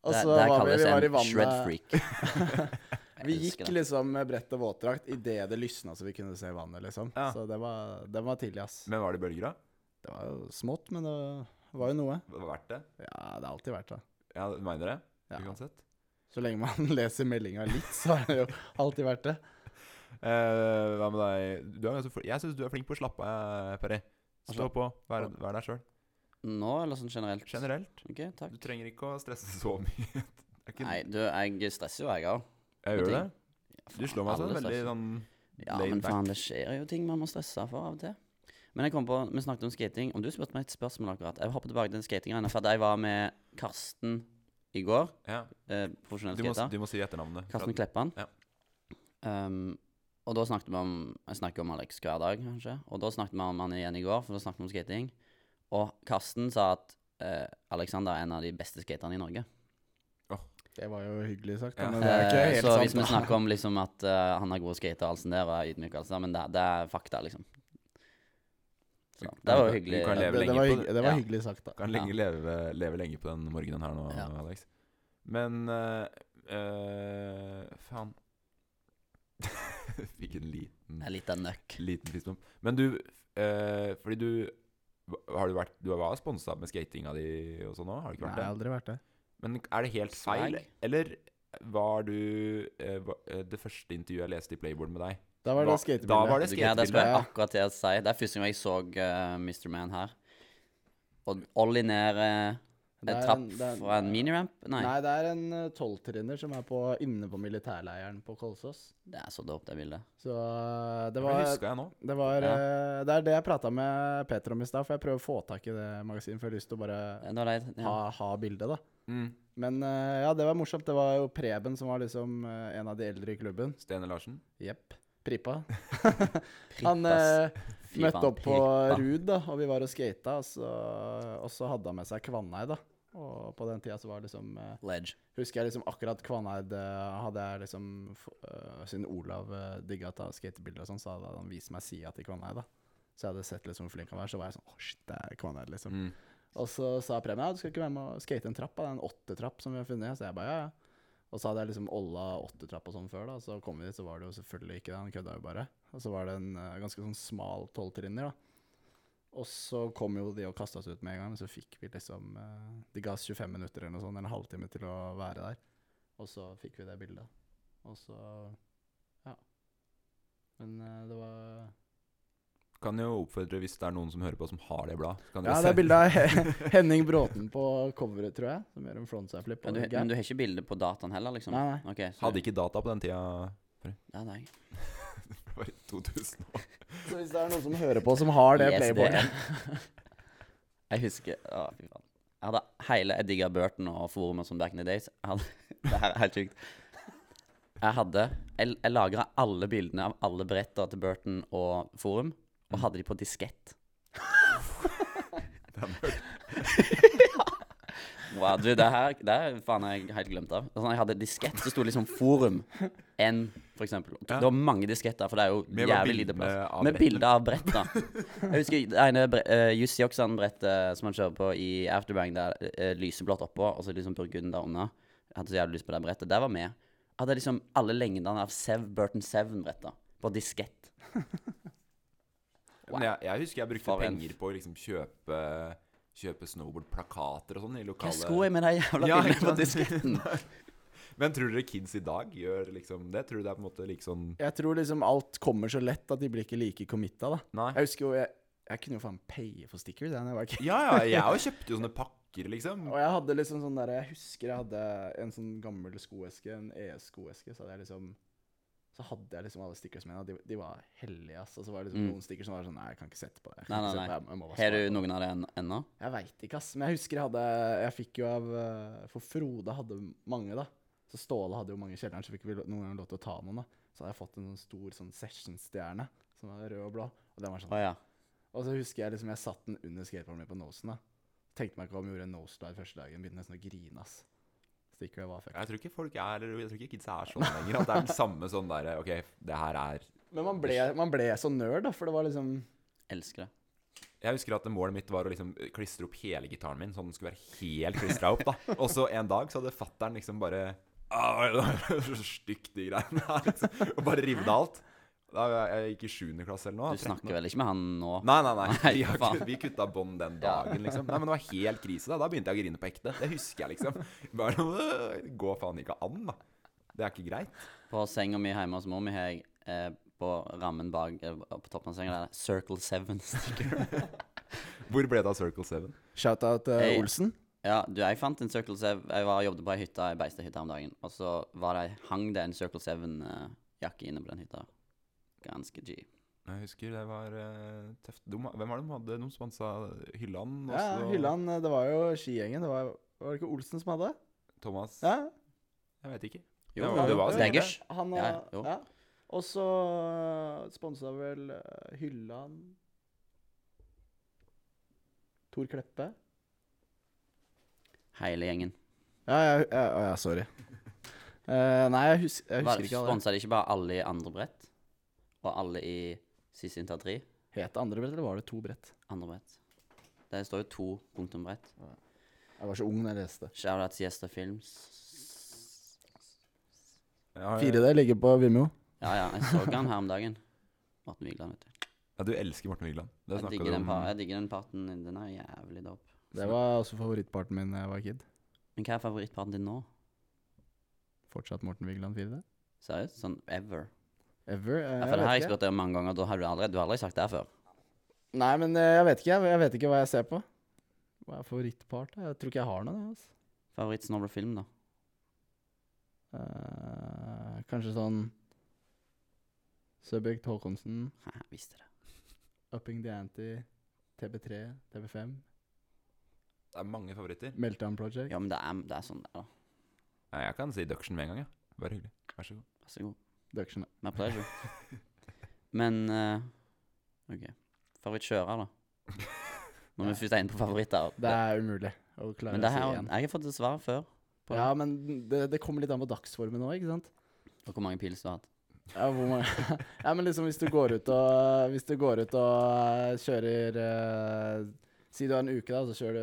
S4: Og
S3: Det-
S4: så
S3: det
S4: var vi,
S3: kalles
S4: vi var i
S3: en
S4: vannet.
S3: shred-freak. Jeg
S4: Vi
S3: elsker
S4: gikk
S3: det.
S4: liksom med brett og våtdrakt idet det lysna så vi kunne se vannet, liksom.
S2: Ja.
S4: Så det var, den var tidlig, ass.
S2: Men var det bølger, da?
S4: Det var jo smått, men det var jo noe.
S2: Var det verdt det?
S4: Ja, det er alltid verdt det.
S2: Ja, mener dere?
S4: Ja.
S2: Uansett.
S4: Så lenge man leser meldinga litt, så er det jo alltid verdt det.
S2: Eh, hva med deg? Du er ganske fl- jeg syns du er flink på å slappe av, eh, Perry. Stå på. Vær, vær deg sjøl.
S3: Nå, eller sånn generelt?
S2: Generelt.
S3: Ok, takk.
S2: Du trenger ikke å stresse så mye. Det er ikke-
S3: Nei, du, jeg stresser jo, jeg òg.
S2: jeg gjør det.
S3: ting.
S2: Du slår meg sånn veldig sånn
S3: Ja,
S2: laid
S3: men
S2: back.
S3: faen, det skjer jo ting man må stresse for av og til. Men jeg kom på, vi snakket om skating. Om du spurte meg et spørsmål akkurat Jeg hopper tilbake til den skatinggreiene. For at jeg var med Karsten i går.
S2: ja.
S3: Eh, profesjonell
S2: du, må,
S3: skater.
S2: du må si etternavnet. for
S3: Karsten
S2: at-
S3: Kleppan.
S2: Ja.
S3: Um, og da snakket vi om Jeg snakker om Alex hver dag, kanskje. Og da snakket vi om han igjen i går, for da snakket vi om skating. Og Karsten sa at eh, Alexander er en av de beste skaterne i Norge.
S4: Det var jo hyggelig sagt,
S2: Ja.
S4: da, men det er ikke
S3: Eh,
S4: helt
S3: så
S4: sant.
S3: hvis vi
S4: da.
S3: snakker om liksom at eh, han har gode skater og alt sånt der, og er ydmyk og alt sånt der, men det, det er fakta, liksom. Så, det var jo hyggelig. eh,
S2: Du kan
S4: det,
S2: leve
S4: det,
S2: lenge
S4: var,
S2: på
S4: hygg-
S2: det.
S4: det var
S3: Ja.
S4: hyggelig sagt, da.
S2: Kan
S3: Ja.
S2: lenge, leve, leve lenge på den morgenen her nå,
S3: Ja.
S2: Alex. Men eh, eh, Faen. Fikk en liten
S3: Det er litt av nøkk.
S2: Liten fistbump. Men du eh, Fordi du hva- Har du vært Du var sponsa med skatinga di og sånn òg? Har du ikke
S4: Nei,
S2: vært
S4: jeg har
S2: det?
S4: aldri vært det.
S2: Men er det helt feil?
S3: Swag.
S2: Eller var du eh, va- eh, Det første intervjuet jeg leste i Playboard med deg,
S4: Da var
S2: Hva- da
S4: det
S2: var det
S3: Vet
S4: skatebildet.
S3: du hva, Det skulle
S4: skatebildet,
S3: jeg
S4: ja.
S3: akkurat til å si. Det er første gang jeg så eh, Mr. Man her. Og Ollie ned eh,
S4: Det
S3: en
S4: er
S3: trapp
S4: en- det er en-
S3: fra en miniramp? Nei.
S4: Nei, det er en eh, tolvtrinner som er på, inne på militærleiren på Kolsås.
S3: Det er så dope, det bildet.
S4: Så eh, det
S2: Hva
S4: var
S2: husker jeg nå?
S4: Det, var,
S3: Ja.
S4: eh, det er det jeg prata med Peter om i stad, for jeg prøver å få tak i det magasinet. For jeg har lyst til å bare
S3: Det var det,
S4: ha,
S3: ja.
S4: ha bildet, da.
S2: Mm.
S4: Men eh, ja, det var morsomt. Det var jo Preben som var liksom eh, en av de eldre i klubben.
S2: Stene Larsen.
S4: Jepp. Prippa.
S3: Prippas.
S4: Han eh,
S3: Fy faen,
S4: møtte opp på
S3: prippa.
S4: Ruud, da, og vi var og skata, og, så- og så hadde han med seg Kvanneid, da. Og på den tida så var det liksom eh,
S3: Ledge.
S4: Husker jeg liksom akkurat Kvaneid eh, hadde jeg liksom f- øh, Siden Olav uh, digga å ta skatebilder og sånn, så hadde han vist meg sida til Kvaneid. da. Så jeg hadde sett liksom hvor flink han var, så var jeg sånn Å, shit, det er Kvaneid, liksom.
S2: Mm.
S4: Og så sa Preben ja, du skal ikke være med og skate en trapp, da. det er en åttetrapp som vi har funnet. Så jeg bare ja, ja. Og så hadde jeg liksom olla åttetrapp og sånn før, da. Så kom vi dit, så var det jo selvfølgelig ikke det, han kødda jo bare. Og så var det en eh, ganske sånn smal tolvtrinner, da. Og så kom jo de og kasta oss ut med en gang, men så fikk vi liksom eh, De ga oss 25 minutter eller noe sånt, eller en halvtime til å være der. Og så fikk vi det bildet. Og så Ja. Men eh, det var
S2: Kan jo oppfordre hvis det er noen som hører på som har det bladet. så kan dere
S4: Ja,
S2: se.
S4: det er bilde av Henning Bråten på coveret, tror jeg, som gjør en frontside-flip.
S3: Men du, men du har ikke bilde på dataen heller, liksom?
S4: Nei, nei.
S3: Ok, så-
S2: Hadde ikke data på den tida.
S3: Ja, nei.
S2: Det var i 2000.
S4: Så hvis det er noen som hører på som har det
S3: Yes,
S4: playboardet
S3: det. Jeg husker Å, fy faen. Jeg hadde hele Jeg digga Burton og forumet som back in the days. Jeg hadde, det her er helt sjukt. Jeg hadde Jeg, jeg lagra alle bildene av alle bretter til Burton og Forum,
S4: Mm.
S3: og hadde de på diskett. Wow, du, det her Det her faen har jeg helt glemt av. Sånn, jeg hadde diskett, så sto liksom Forum N, for eksempel.
S2: Ja.
S3: Det var mange disketter, for det er jo
S2: Med bare
S3: jævlig lite
S2: bildene av
S3: plass. Med
S2: brettene.
S3: bilder av brett, da. Jeg husker det ene bre eh, Jussi Oksan-brettet som han kjører på i Afterbang, der uh, lyseblått oppå, og så liksom burgunder unna. Jeg hadde så jævlig lyst på det brettet. Der var med. Jeg hadde liksom alle lengdene av Sev, Burton Seven-bretta på diskett.
S2: Men jeg, jeg husker jeg brukte
S3: For en-
S2: penger på å liksom kjøpe, kjøpe snowboardplakater og sånn i
S3: Hva
S2: lokale
S3: skulle jeg med de jævla
S2: Ja,
S3: bildene
S2: ikke
S3: på
S2: sant?
S3: disketten?
S2: Men tror dere kids i dag gjør liksom det? Tror du det er på en måte like sånn
S4: Jeg tror liksom alt kommer så lett at de blir ikke like committa, da.
S2: Nei?
S4: Jeg husker jo Jeg, jeg kunne jo faen paye for stickers, jeg, når jeg var kid.
S2: Ja, ja, jeg òg kjøpte jo sånne pakker, liksom.
S4: Og jeg hadde liksom sånn derre Jeg husker jeg hadde en sånn gammel skoeske, en ES-skoeske, så hadde jeg liksom så hadde jeg liksom alle stickers mine, og de, de var hellige, ass. Og så var det liksom
S3: Mm.
S4: noen stickers som var sånn Nei, jeg kan ikke sette på det. Jeg kan
S3: Nei,
S4: ikke
S3: nei,
S4: sette på det, jeg må
S3: nei.
S4: bare
S3: Har
S4: spare
S3: du
S4: på det.»
S3: noen av det en- ennå?
S4: Jeg veit ikke, ass. Men jeg husker jeg hadde Jeg fikk jo av eh, For Frode hadde mange, da. Så Ståle hadde jo mange i kjelleren, så fikk vi lo- noen ganger lov til å ta noen. da. Så hadde jeg fått en sånn stor sånn session-stjerne som var rød og blå. Og den var sånn.
S3: Å ja.
S4: Og så husker jeg liksom jeg satt den under skateboarden min på nosen. da. Tenkte meg ikke om jeg gjorde en nosedive første dagen. Begynte nesten å grine, ass. Stikker jeg var fucked.
S2: Jeg tror ikke folk er eller Jeg tror ikke kids er sånn lenger. At det er den samme sånn derre OK, det her er
S4: Men man ble, man ble så nerd, da, for det var liksom
S3: Elsker det.
S2: Jeg husker at målet mitt var å liksom klistre opp hele gitaren min, sånn den skulle være helt klistra opp, da. Og så en dag så hadde fattern liksom bare «Ah, det er Så stygt, de greiene her. liksom. Og bare rivde alt. Da jeg jeg gikk i 7. klasse eller noe.
S3: Du
S2: 13 år.
S3: snakker vel ikke med han nå?
S2: Nei, nei, nei.
S3: Nei,
S2: Vi, har,
S3: faen.
S2: ikke- vi kutta bånd den
S3: Ja.
S2: dagen, liksom. Nei, men det var helt krise. Da Da begynte jeg å grine på ekte. Det husker jeg, liksom. Bare, «Øh, Det går faen ikke an, da. Det er ikke greit.
S3: På senga mi hjemme hos mor mi har jeg eh, på rammen bak eh, På toppen av senga der Circle Seven.
S2: Hvor ble det av Circle 7?
S4: Shout-out eh,
S3: Hey.
S4: Olsen.
S3: Ja, du, jeg fant en Circle Seven Jeg var, jobbet på ei hytte, ei beitehytte om dagen. Og så var det, hang det en Circle Seven-jakke inne på den hytta. Ganske G.
S2: Jeg husker det var eh, tøft. De, hvem var det de hadde? De sponsa Hylland? og
S4: Ja,
S2: så-
S4: Hylland, eh, det var jo skigjengen. Det var, var det ikke Olsen som hadde?
S2: Thomas?
S4: Ja,
S2: Jeg vet ikke.
S3: Jo,
S2: Ja,
S3: det var,
S2: det var sikkert
S3: Deggers.
S4: Han og,
S3: Ja,
S4: ja,
S3: jo.
S4: Og så sponsa vel eh, Hylland Tor Kleppe.
S3: Hele gjengen.
S4: Ja, jeg, jeg, å, ja sorry. Eh, nei, jeg, hus, jeg husker ikke alle.
S3: Sponsa de ikke bare alle i andre brett? Og alle i siste inntil tre?
S4: Het det andre brett, eller var det to brett?
S3: Andre brett. Det står jo to punktum brett.
S4: Jeg var så ung da jeg leste.
S3: Shout-out Siesta Films.
S2: Jeg har-
S4: 4D ligger på Vimeo.
S3: Ja, ja, jeg så han her om dagen. Morten Vigeland, vet du.
S2: Ja, du elsker Morten Vigeland. Det
S3: Jeg
S2: snakket
S3: digger,
S2: du
S3: den
S2: om.
S3: pa- jeg digger den parten. Den er jævlig dope.
S4: Det var også favorittparten min da jeg var kid.
S3: Men hva er favorittparten din nå?
S4: Fortsatt Morten Vigeland 4D.
S3: Seriøst? Sånn ever?
S4: Ever? Eh,
S3: Ja,
S4: jeg
S3: for det har
S4: vet
S3: jeg
S4: ikke.
S3: spurt deg om mange ganger, og da har du aldri, du har aldri sagt det før.
S4: Nei, men eh, jeg vet ikke. Jeg, jeg vet ikke hva jeg ser på. Hva er favorittpart? da? Jeg tror ikke jeg har noe. jeg, Altså.
S3: Favorittsnowboardfilm, da?
S4: Eh, kanskje sånn Subject Håkonsen,
S3: Haha, Jeg visste det.
S4: Upping the Ante, TB3, TB5,
S2: Det er mange favoritter.
S4: Meltdown Project.
S3: Ja, men det er, det er sånn det er, da.
S2: Nei, jeg kan si Duction med en gang, ja. Bare hyggelig. Vær så god.
S3: Vær så god.
S4: Duction.
S3: My pleasure. Men eh, OK. Favorittkjører, da? Når vi først er inne på favoritter.
S4: Det er umulig å klare
S3: men det
S4: å
S3: her,
S4: si én.
S3: jeg har fått et svar før på
S4: Ja, men det, det kommer litt an på dagsformen òg, ikke sant?
S3: på hvor mange pils du har hatt.
S4: Ja, hvor mange Ja, men liksom hvis du går ut og Hvis du går ut og kjører eh, Si du har en uke, da, og så kjører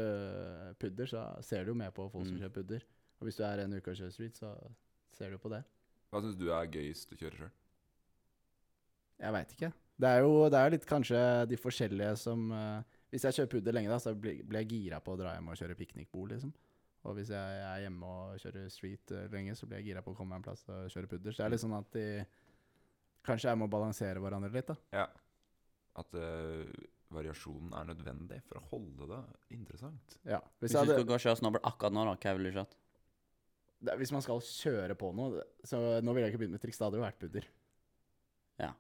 S4: du pudder, så ser du jo med på folk som
S3: Mm.
S4: kjører pudder. Og hvis du er en uke og kjører street, så ser du på det.
S2: Hva syns du er gøyest å kjøre sjøl?
S4: Jeg veit ikke. Det er jo det er jo litt kanskje de forskjellige som eh, Hvis jeg kjører pudder lenge, da, så blir, blir jeg gira på å dra hjem og kjøre piknikbord, liksom. Og hvis jeg er hjemme og kjører street eh, lenge, så blir jeg gira på å komme meg en plass og kjøre pudder. Så det er litt sånn at de Kanskje jeg må balansere hverandre litt, da.
S2: At eh, variasjonen er nødvendig for å holde det interessant.
S4: Ja.
S3: Hvis,
S4: Hvis, jeg
S3: du
S4: hadde,
S3: skulle gå og kjøre snowboard akkurat nå, da, hva ville du kjørt?
S4: det, er- hvis man skal kjøre på noe det- Så nå ville jeg ikke begynt med triks, da hadde det jo vært pudder.
S3: Ja.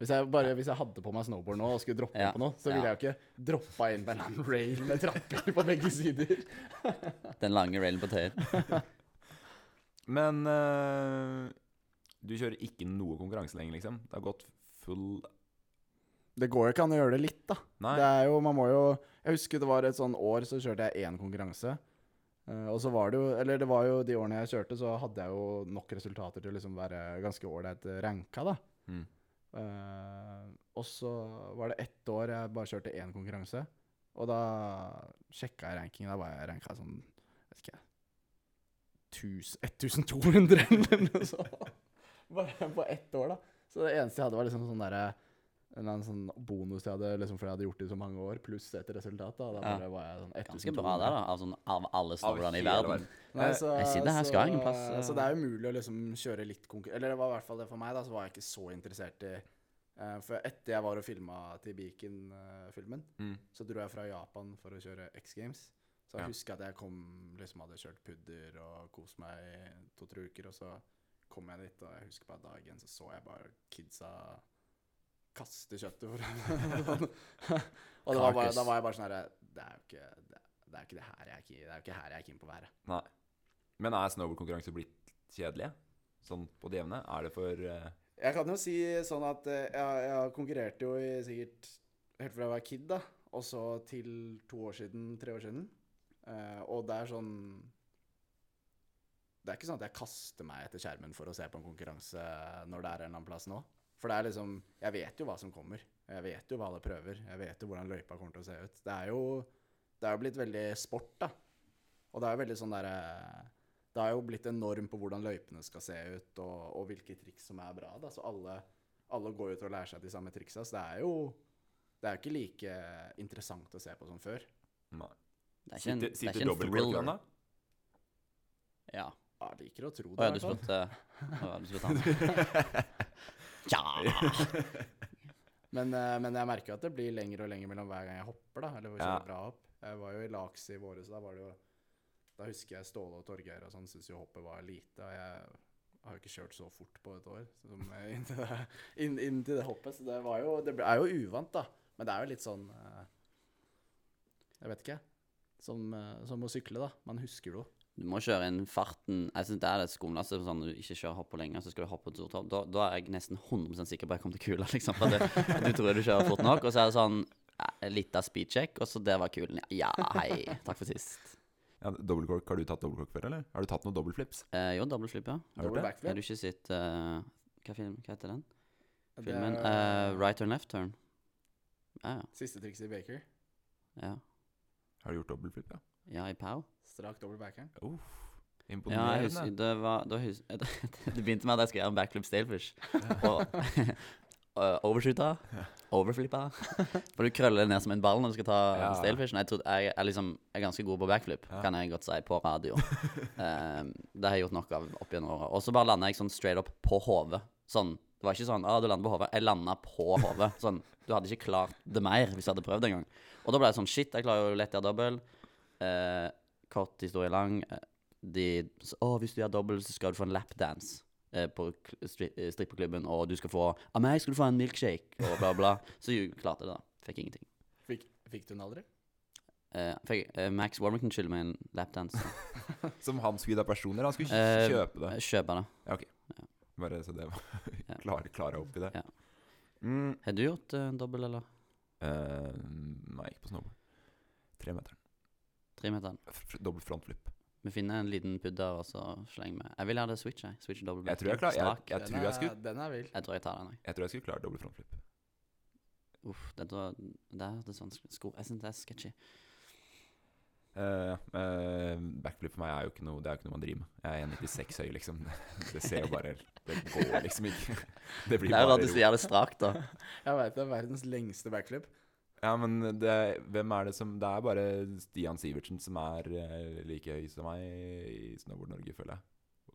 S4: Hvis, jeg bare, hvis jeg hadde på meg snowboard nå og skulle droppe
S3: Ja.
S4: på noe, så ville
S3: Ja.
S4: jeg jo ikke droppa inn på en eller annen rail med trapper på begge sider.
S3: Den lange railen på Tøyen.
S2: Men eh, du kjører ikke noe konkurranse lenger, liksom? Det har gått full
S4: Det går jo ikke an å gjøre det litt, da.
S2: Nei.
S4: Det er jo, man må jo Jeg husker det var et sånn år så kjørte jeg én konkurranse. Eh, og så var det jo Eller det var jo de årene jeg kjørte, så hadde jeg jo nok resultater til å liksom være ganske ålreit ranka, da.
S2: Mm.
S4: Eh, og så var det ett år jeg bare kjørte én konkurranse. Og da sjekka jeg rankingen. Da var jeg ranka sånn Vet ikke 1000 1200 eller noe sånt. Bare på ett år, da. Så det eneste jeg hadde, var liksom sånn derre en eller annen sånn bonus jeg hadde liksom fordi jeg hadde gjort det i så mange år, pluss et resultat. da, da
S3: Ja.
S4: bare var jeg sånn 1200.
S3: Ganske bra der, da. Av, sånn, av alle snowboardene i
S2: hele
S3: verden.
S4: Nei, så,
S3: Eh, Jeg sier det her skal ingen plass,
S4: Så
S3: eh.
S4: det er umulig å liksom kjøre litt konkurranse Eller det var i hvert fall det for meg, da, så var jeg ikke så interessert i eh, For etter jeg var og filma til Beacon-filmen,
S2: Mm.
S4: så dro jeg fra Japan for å kjøre X Games. Så jeg
S2: Ja.
S4: husker at jeg kom, liksom hadde kjørt pudder og kost meg i to-tre uker, og så kom jeg dit, og jeg husker bare dagen, så så jeg bare kidsa kaste kjøttet foran Og det var bare,
S3: Carcass.
S4: da var jeg bare sånn herre Det er jo ikke det, det er ikke det her jeg er keen- det er jo ikke her jeg er keen på å være.
S2: Nei. Men er snowboardkonkurranser blitt kjedelige? Sånn på det jevne? Er det for eh,
S4: Jeg kan jo si sånn at eh, jeg, jeg konkurrerte jo i sikkert helt fra jeg var kid, da. Og så til to år siden, tre år siden. Eh, og det er sånn Det er ikke sånn at jeg kaster meg etter skjermen for å se på en konkurranse når det er en eller annen plass nå. For det er liksom Jeg vet jo hva som kommer. Jeg vet jo hva alle prøver. Jeg vet jo hvordan løypa kommer til å se ut. Det er jo Det er jo blitt veldig sport, da. Og det er jo veldig sånn derre det har jo blitt en norm på hvordan løypene skal se ut, og, og hvilke triks som er bra. Da. Så alle, alle går ut og lærer seg de samme triksa. Så det er jo det er jo ikke like interessant å se på som før.
S2: Nei.
S3: Det er ikke en,
S2: Sitter,
S3: det er
S2: sitter
S3: ikke en
S2: dobbeltkorkene,
S3: thriller.
S2: da?
S3: Ja.
S4: Jeg liker å tro
S3: Å ja,
S4: det.
S3: du eh,
S4: i hvert fall.
S3: spurte Å ja, du spurte han. Tja!
S4: men, eh, men jeg merker jo at det blir lengre og lengre mellom hver gang jeg hopper, da. Eller kjører
S2: Ja.
S4: bra hopp. Jeg var jo i Laks i våres, da var det jo Da husker jeg Ståle og Torgeir og sånn syntes jo hoppet var lite. Og jeg har jo ikke kjørt så fort på et år som eh, inn til det, inn, inn til det hoppet. Så det var jo Det ble- er jo uvant, da. Men det er jo litt sånn eh, Jeg vet ikke. Som, eh, som å sykle, da. Man husker det jo.
S3: Du må kjøre inn farten. Jeg synes Det er det skumleste. Sånn, du ikke kjører hopp på lenge, så skal du hoppe på et stort hopp. Da, da er jeg nesten 100 sikker på at jeg kommer til kula. Liksom, for at du, at du tror du kjører fort nok. Og så er det sånn eh, litt av speedcheck, og så der var kulen. Ja, hei. Takk for sist.
S2: Ja, dobbeltkork, Har du tatt dobbeltkork før, eller? Har du tatt noen dobbeltflips?
S3: Eh, jo, dobbeltflip, ja.
S2: Har du hørt det?
S4: Double
S3: Har
S4: backflip.
S3: du ikke sett eh, hva, film, hva heter den?
S4: Det er
S3: Filmen? Eh, right turn, left turn. Ja, ja.
S4: Siste trikset i Baker.
S3: Ja,
S2: Har du gjort dobbeltflip, ja?
S3: ja i Pow.
S4: Strak dobbel backhand.
S2: Uff.
S3: Ja, jeg
S2: Imponerende.
S3: husker, det, var, da hus- det begynte med at jeg skulle gjøre en backflip stalefish. Og og overskyta, overflippa. For du krøller ned som en ball når du skal ta
S2: Ja.
S3: stalefishen. Jeg, trodde- jeg er liksom er ganske god på backflip,
S2: Ja.
S3: kan jeg godt si, på radio. Eh, Ehm, det har jeg gjort nok av opp gjennom åra. Og så bare landa jeg sånn straight up på hodet. Sånn Det var ikke sånn 'Å, du lander på hodet'. Jeg landa på hodet. Sånn, du hadde ikke klart det mer hvis du hadde prøvd engang. Og da ble jeg sånn Shit, jeg klarer jo lett å gjøre dobbel. Eh, kort historie lang. eh, De s- Å, hvis du gjør dobbel, så skal du få en lapdance eh, på k- stri eh, strippeklubben, og du skal få Av meg skal du få en milkshake, og bla, bla. Så jeg klarte det, da. Fikk ingenting.
S4: Fikk, fikk du den aldri?
S3: Eh, fikk, eh, Max Warmington skylder meg en lapdance.
S2: Som han skulle gi deg personer. Han skulle
S3: Eh,
S2: ikke kjøpe det.
S3: Jeg Kjøper det.
S2: Bare så det var
S3: Ja.
S2: klar, klare opp i det.
S3: Ja.
S2: Mm.
S3: Har du gjort eh, dobbel, eller?
S2: Eh, nei, ikke på snowboard. Tremeteren.
S3: Trimeteren.
S2: F- f- Dobbel frontflip.
S3: Vi finner en liten pudder, og så slenger vi Jeg vil ha det switch, jeg. Switch dobbel
S2: Jeg tror jeg, klar,
S3: backhand.
S2: jeg,
S3: Strak.
S2: jeg,
S4: den,
S2: tror jeg, skulle,
S4: er, den er vill.
S3: Jeg tror jeg tar den, jeg.
S2: jeg tror jeg skulle klare dobbel frontflip.
S3: Uff, det tror jeg Det er det sånn sko Jeg synes det er sketchy.
S2: Eh, eh, backflip for meg er jo ikke noe Det er jo ikke noe man driver med. Jeg er 1,96 høy, liksom. Det ser jo bare Det går liksom ikke. Det
S3: Det
S2: blir
S3: er jo
S2: bare
S3: rart hvis du
S2: ro.
S3: gjør det strakt, da.
S4: Jeg veit det er verdens lengste backflip.
S2: Ja, men det, hvem er det som Det er bare Stian Sivertsen som er eh, like høy som meg i Snowboard-Norge, føler jeg.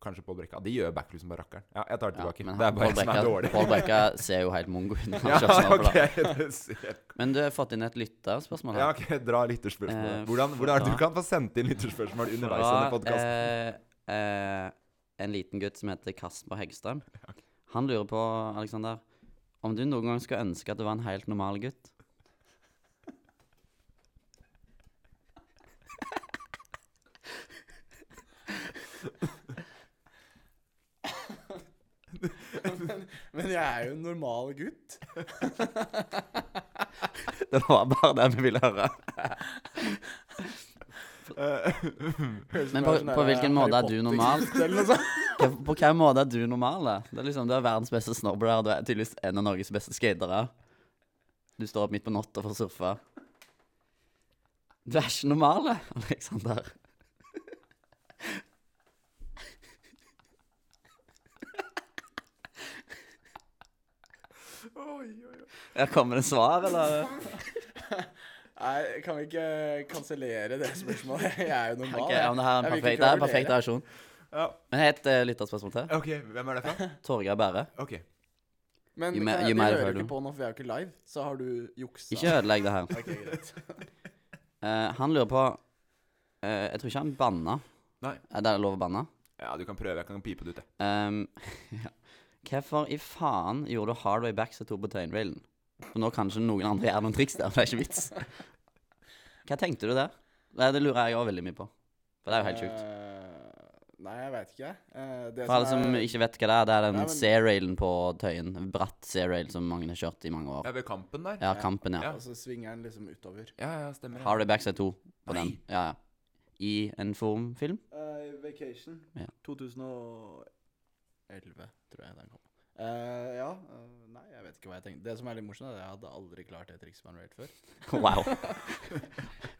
S2: Kanskje Pål Brekka. De gjør backflip som bare rakkeren. Ja, jeg tar det
S3: Ja,
S2: tilbake.
S3: men
S2: det
S3: han-
S2: er bare jeg som er
S3: Paul
S2: dårlig.
S3: Brekke- Paul Brekke ser jo helt mongo ut. når han kjører
S2: ja,
S3: snowboard.
S2: ok, det ser.
S3: Men du har fått inn et lytterspørsmål her.
S2: ja, ok, dra lytterspørsmål.
S3: Eh,
S2: Hvordan, hvordan er det
S3: fra-
S2: du kan få sendt inn lytterspørsmål underveis i denne podkasten?
S3: eh, eh, en liten gutt som heter Kasper Heggstrøm. Han lurer på, Alexander, om du noen gang skulle ønske at du var en helt normal gutt?
S4: men, men jeg er jo en normal gutt.
S3: Det var bare det vi ville høre.
S4: Høres ut
S3: Men
S4: som
S3: på-
S4: jeg sånn
S3: på
S4: der
S3: hvilken måte er du
S4: Harry
S3: normal?
S4: Potter-gutt eller noe sånt.
S3: Hva- På hvilken måte er du normal? da? Det er liksom, du er verdens beste snowboarder, og du er tydeligvis en av Norges beste skatere. Du står opp midt på natta for å surfe. Du er ikke normal, da, Alexander. Her kommer det svar, eller?
S4: Nei, kan vi ikke kansellere det spørsmålet? Jeg er jo normal.
S3: Ok, ja, men det her er en
S4: Jeg vil
S3: perfekt,
S4: ikke
S3: det er en
S4: klarere.
S3: perfekt versjon.
S2: Ja.
S3: Men et uh, lytterspørsmål til.
S2: Ok, hvem er det fra?
S3: Torgeir Bære.
S2: Ok.
S4: Men
S3: You
S4: kan
S3: may-
S4: jeg-
S3: you
S4: de
S3: may have
S4: hører
S3: heard
S4: jo
S3: him.
S4: ikke på nå, for vi er jo ikke live. Så har du juksa.
S3: Ikke ødelegg det her.
S4: Ok, greit.
S3: Eh, han lurer på eh, Jeg tror ikke han banna.
S2: Nei.
S3: Er det lov å banne?
S2: Ja, du kan prøve. Jeg kan pipe det ut, jeg.
S3: Ehm, ja. Hvorfor i faen gjorde du Hardway Backs og to på tøyenrailen? For nå kan ikke noen andre gjøre noen triks der, for det er ikke vits. Hva tenkte du der? Nei, Det lurer jeg òg veldig mye på. For det er jo helt sjukt.
S4: Eh, Nei, jeg veit ikke. Eh, det
S3: For alle som
S4: er-
S3: ikke vet hva det er, det er
S4: Nei,
S3: den
S4: men-
S3: C-railen på Tøyen. en Bratt C-rail som mange har kjørt i mange år.
S2: Ja, ved kampen der?
S3: Ja, kampen, ja.
S4: Og så svinger den liksom utover.
S2: Ja, ja, stemmer. det.
S3: Hardway Backs er to på den.
S2: Nei.
S3: Ja, ja. I en formfilm.
S4: Eh, vacation.
S3: Ja.
S4: 2011, tror jeg den kom. Eh, ja. eh, nei, jeg vet ikke hva jeg tenkte. Det som er litt morsomt, er at jeg hadde aldri klart det trikset med en rail før.
S3: Wow.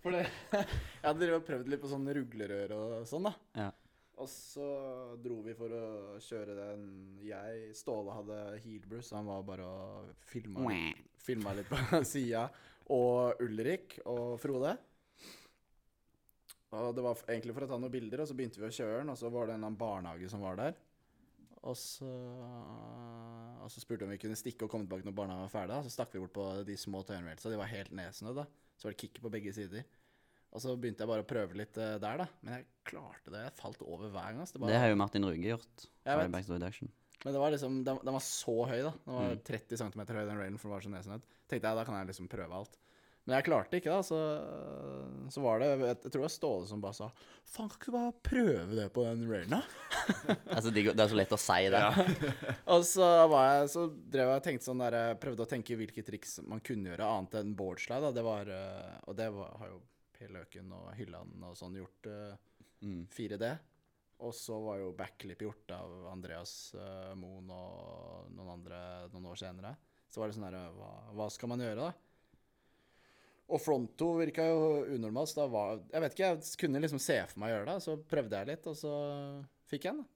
S4: For det, jeg hadde drevet og prøvd litt på sånn ruglerør og sånn, da.
S3: Ja.
S4: Og så dro vi for å kjøre den jeg Ståle hadde heelbrus, så han var bare og filma litt, filma litt på sida. Og Ulrik og Frode. Og det var f- egentlig for å ta noen bilder, og så begynte vi å kjøre den, og så var det en eller annen barnehage som var der. Og så, og så spurte vi om vi kunne stikke og komme tilbake når barnehagen var ferdig. Og så stakk vi bort på de små tøyenrailsa. De var helt nedsnødd. da. Så var det kick på begge sider. Og så begynte jeg bare å prøve litt eh, der, da. Men jeg klarte det. Jeg falt over hver gang. ass. Det
S3: Det
S4: bare,
S3: har jo Martin Ruge gjort.
S4: Jeg
S3: Hardway
S4: vet.
S3: Backs to Reduction.
S4: men det var liksom, den, den var så høy, da. Den var 30 cm høy, den railen, for den var så nedsnødd. Tenkte jeg, da kan jeg liksom prøve alt. Men jeg klarte ikke, da. Så, så var det Jeg tror det var Ståle som bare sa Faen, kan ikke du bare prøve det på den railen, da?
S3: Altså, det det er så lett å si det.
S4: Og så, var jeg, så drev jeg og tenkte sånn der, jeg prøvde å tenke hvilke triks man kunne gjøre, annet enn boardslide. Da. Det var, eh, og det var, har jo P. Løken og Hylland og sånn gjort eh, 4D. Og så var jo backflip gjort av Andreas eh, Moen og noen andre noen år senere. Så var det sånn her eh, hva, hva skal man gjøre, da? Og front to virka jo unormalt, så da var Jeg vet ikke, jeg kunne liksom se for meg å gjøre det. Så prøvde jeg litt, og så fikk jeg den. da.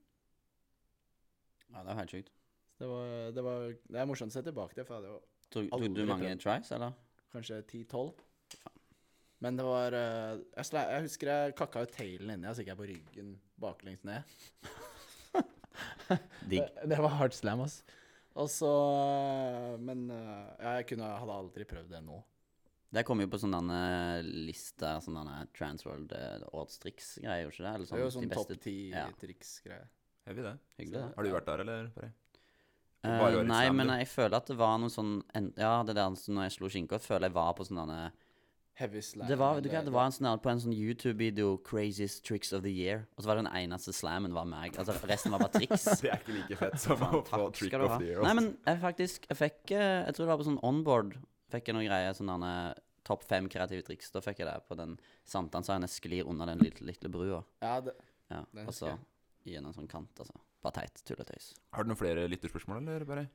S3: Ja, det er jo helt sjukt.
S4: Det var, det var Det er morsomt å se tilbake til, for jeg hadde jo
S3: Tok, tok du
S4: Aldri
S3: mange
S4: prøvd.
S3: tries, eller?
S4: kanskje 10-12. Men det var eh, jeg, sle- jeg husker jeg kakka ut tailen inni, og så gikk jeg på ryggen baklengs ned.
S3: Digg.
S4: Eh. Det, det var hard slam, ass. Og så Men eh, ja, jeg kunne, hadde aldri prøvd det nå.
S3: Det kommer jo på sånn sånne derne lister, sånne derne Transworld eh, årets triks-greier, gjør ikke det? Eller
S4: Det er jo
S3: sånn,
S4: sånn
S3: de
S4: topp
S3: beste ja.
S4: ti-triks-greie.
S2: Heavy, det.
S3: Hyggelig. det.
S2: Har du vært der, eller? Bare?
S3: Eh,
S2: Bare årets
S3: nei,
S2: slam,
S3: men
S2: du.
S3: jeg føler at det var noe sånn en, Ja, det der som når jeg slo skinka, føler jeg var på sånn derne
S4: Heavy slam.
S3: Det var, vet du hva,
S4: det-
S3: det var en sånn der på en sånn YouTube-video 'Craziest tricks of the year', og så var det den eneste slammen var meg. Altså resten var bare triks.
S2: Det er ikke like fett som å få
S3: Takk
S2: trick
S3: skal du
S2: of
S3: ha.
S2: the year.
S3: Nei,
S2: altså.
S3: men jeg faktisk Jeg fikk eh, Jeg tror det var på sånn onboard Fikk jeg noen greier Sånn denne Topp fem kreative triks Da fikk jeg det på den Sankthansøyen Jeg sklir under den lille, lille brua
S4: Ja, det,
S3: Ja
S4: Den
S3: Og så
S4: husker
S3: I en sånn kant altså Bare teit Tulletøys
S2: Har du noen flere lytterspørsmål, eller? bare?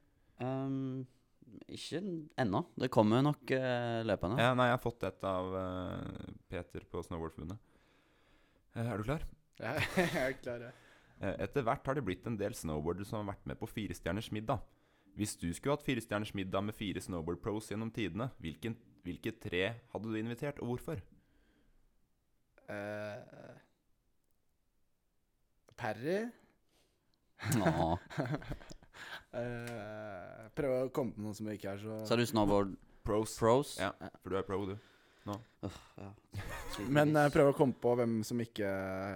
S3: um, Ikke ennå Det kommer nok eh, løpende
S2: Ja, nei, jeg har fått et av eh, Peter på Snowboardforbundet. Eh, er du klar?
S4: ja, jeg er klar. jeg.
S2: Eh, Etter hvert har det blitt en del snowboardere som har vært med på Firestjerners middag. Hvis du skulle hatt Firestjerners middag med fire snowboard pros gjennom tidene, hvilken, hvilke tre hadde du invitert, og hvorfor?
S4: Eh, Parry.
S3: Nå
S4: Eh, prøve å komme på noe som ikke er så
S3: Så er du snowboard
S2: Pros.
S3: pros
S2: Ja, for du er pro, du.
S3: ja.
S4: Men eh, prøve å komme på hvem som ikke,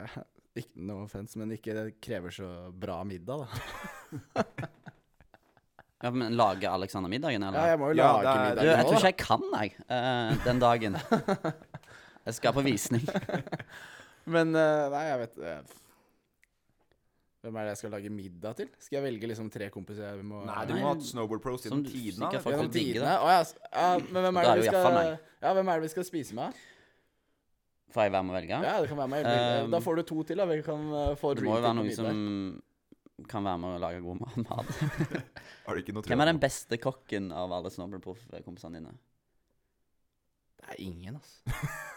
S4: eh, ikke No offense, men ikke krever så bra middag, da.
S3: Ja, men lager Alexander middagen, eller?
S4: Ja, jeg må jo
S2: Ja,
S4: lage
S2: det
S3: Du, jeg tror
S4: middag
S3: ikke jeg kan, jeg, eh, den dagen. Jeg skal på visning.
S4: Men eh, nei, jeg vet eh, Hvem er det jeg skal lage middag til? Skal jeg velge liksom tre kompiser jeg må
S2: Nei, du
S3: Nei,
S2: må ha hatt snowboard pros
S3: som
S2: gjennom
S3: du-
S2: tidene.
S3: sikkert
S2: vet du.
S3: folk
S4: Gjennom
S3: vil digge
S4: tidene?
S3: det.
S4: Å ja, s- ja, men hvem
S3: Da er
S4: er det
S3: det
S4: vi
S3: jo
S4: skal
S3: iallfall meg.
S4: Ja, hvem er det vi skal spise med?
S3: Får jeg være med å velge?
S4: Ja, det kan være meg. eller-
S3: Um,
S4: Da får du to til, da. Vi kan eh, få
S3: Det må jo være
S4: real til på
S3: noen
S4: middag.
S3: som kan være med å lage god mat- mat.
S2: Har du ikke noe tro
S3: Hvem er
S2: på
S3: den beste kokken av alle snowboardproff-kompisene dine?
S4: Det er ingen, altså.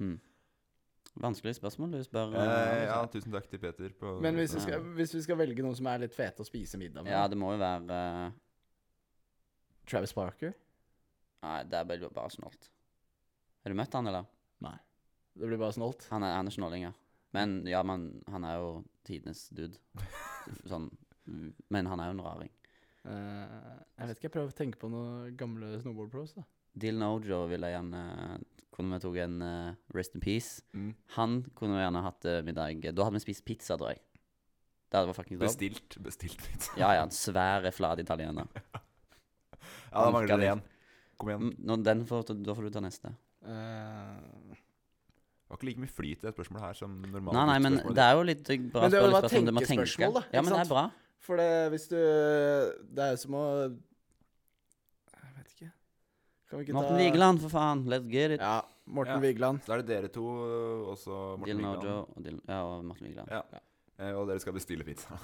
S3: Hmm. Vanskelig spørsmål du spør.
S2: Eh,
S3: eh,
S2: ja,
S3: altså.
S2: tusen takk til Peter. På
S4: Men hvis vi
S3: Ja.
S4: skal, hvis vi skal velge noen som er litt fete å spise middag med
S3: ja, det må jo være eh,
S4: Travis Parker?
S3: Nei, det blir jo bare snolt. Har du møtt han, eller?
S4: Det blir bare snolt.
S3: Han er, han er snåling, ja. Men ja, men han er jo tidenes dude. Sånn. Men han er jo en raring.
S4: Eh, jeg vet ikke, jeg prøver å tenke på noen gamle snowboard pros, da.
S3: Dylan Ojo ville jeg gjerne eh, Kunne vi tatt en eh, Rest in Peace.
S2: Mm.
S3: Han kunne vi gjerne hatt eh, middag Da hadde vi spist pizza, tror jeg. Det hadde vært fucking dope.
S2: Bestilt. Bestilt pizza.
S3: Ja, ja. En svær, flat italiener.
S2: Ja, da mangler det
S3: Anker
S2: én. Kom igjen.
S3: Mm, Når den får, da får du ta neste.
S4: Eh,
S2: Det var ikke like mye flyt i det spørsmålet her som normalt.
S3: Nei, nei, men
S2: lytterspørsmål.
S3: det er jo litt eh, bra
S4: Men det er jo
S3: spørsmål,
S4: bare
S3: spørsmål du må tenke.
S4: tenkespørsmål, da,
S3: Ja,
S4: ikke
S3: men det
S4: sant?
S3: er bra.
S4: for det, hvis du Det er jo som å Jeg vet ikke. Kan vi ikke
S3: Morten
S4: ta
S3: Vigeland, for faen. Let's get it.
S4: Ja, Morten
S2: Ja.
S4: Vigeland.
S2: Så er det dere to, og så Morten
S3: Dylan Ojo
S2: Vigeland.
S3: og, Dylan, ja, og Morten Vigeland.
S2: Ja. Eh, Og dere skal bestille pizza.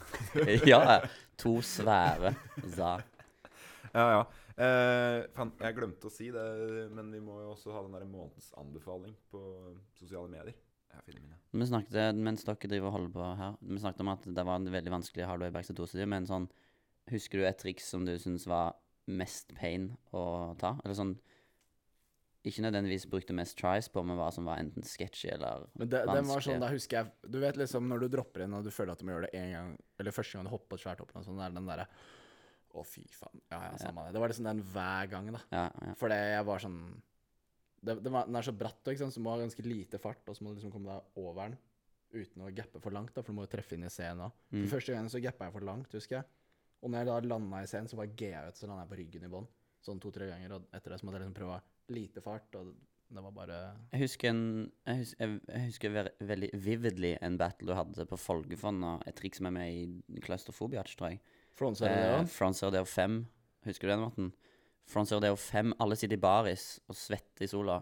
S3: ja, ja. to svære za.
S2: Ja, ja. Eh, fan, jeg glemte å si det, men vi må jo også ha den der månedens anbefaling på sosiale medier. Jeg finner mine.
S3: Vi snakket, eh, mens dere driver og holder på her, vi snakket om at det var en veldig vanskelig hard way back til tosidig, men sånn, husker du et triks som du synes var mest pain å ta? Eller sånn, ikke nødvendigvis brukte mest tries på, men hva som var enten sketchy eller...
S4: Men det, den var
S3: Vanskelig.
S4: sånn, da husker jeg Du vet liksom når du dropper inn og du føler at du må gjøre det en gang, eller første gang du hopper på tværtoppen og sånn, det er den derre Å, fy faen. Ja, ja, samme det. Det var liksom den hver gang, da.
S3: Ja, ja.
S4: Fordi jeg var sånn det, det var, Den er så bratt, ikke sant? så du må ha ganske lite fart, og så må du liksom komme deg over den uten å gappe for langt, da, for du må jo treffe inn i scenen òg.
S3: Mm.
S4: Første gangen så gappa jeg for langt, husker jeg. Og når jeg da landa i scenen, så bare ga jeg ut, så landa jeg på ryggen i bånn. Sånn to-tre ganger, og etter det så måtte jeg liksom prøve å ha lite fart, og det, det var bare
S3: Jeg husker, en, jeg husker, jeg, jeg husker ver, veldig vividly en battle du hadde på Folgefonna, et triks som er med i Claustrophobia, tror jeg. Eh,
S4: Flånser det òg?
S3: Front Zero 5. Husker du den, Morten? Front Zero 5. Alle sitter i baris og svetter i sola.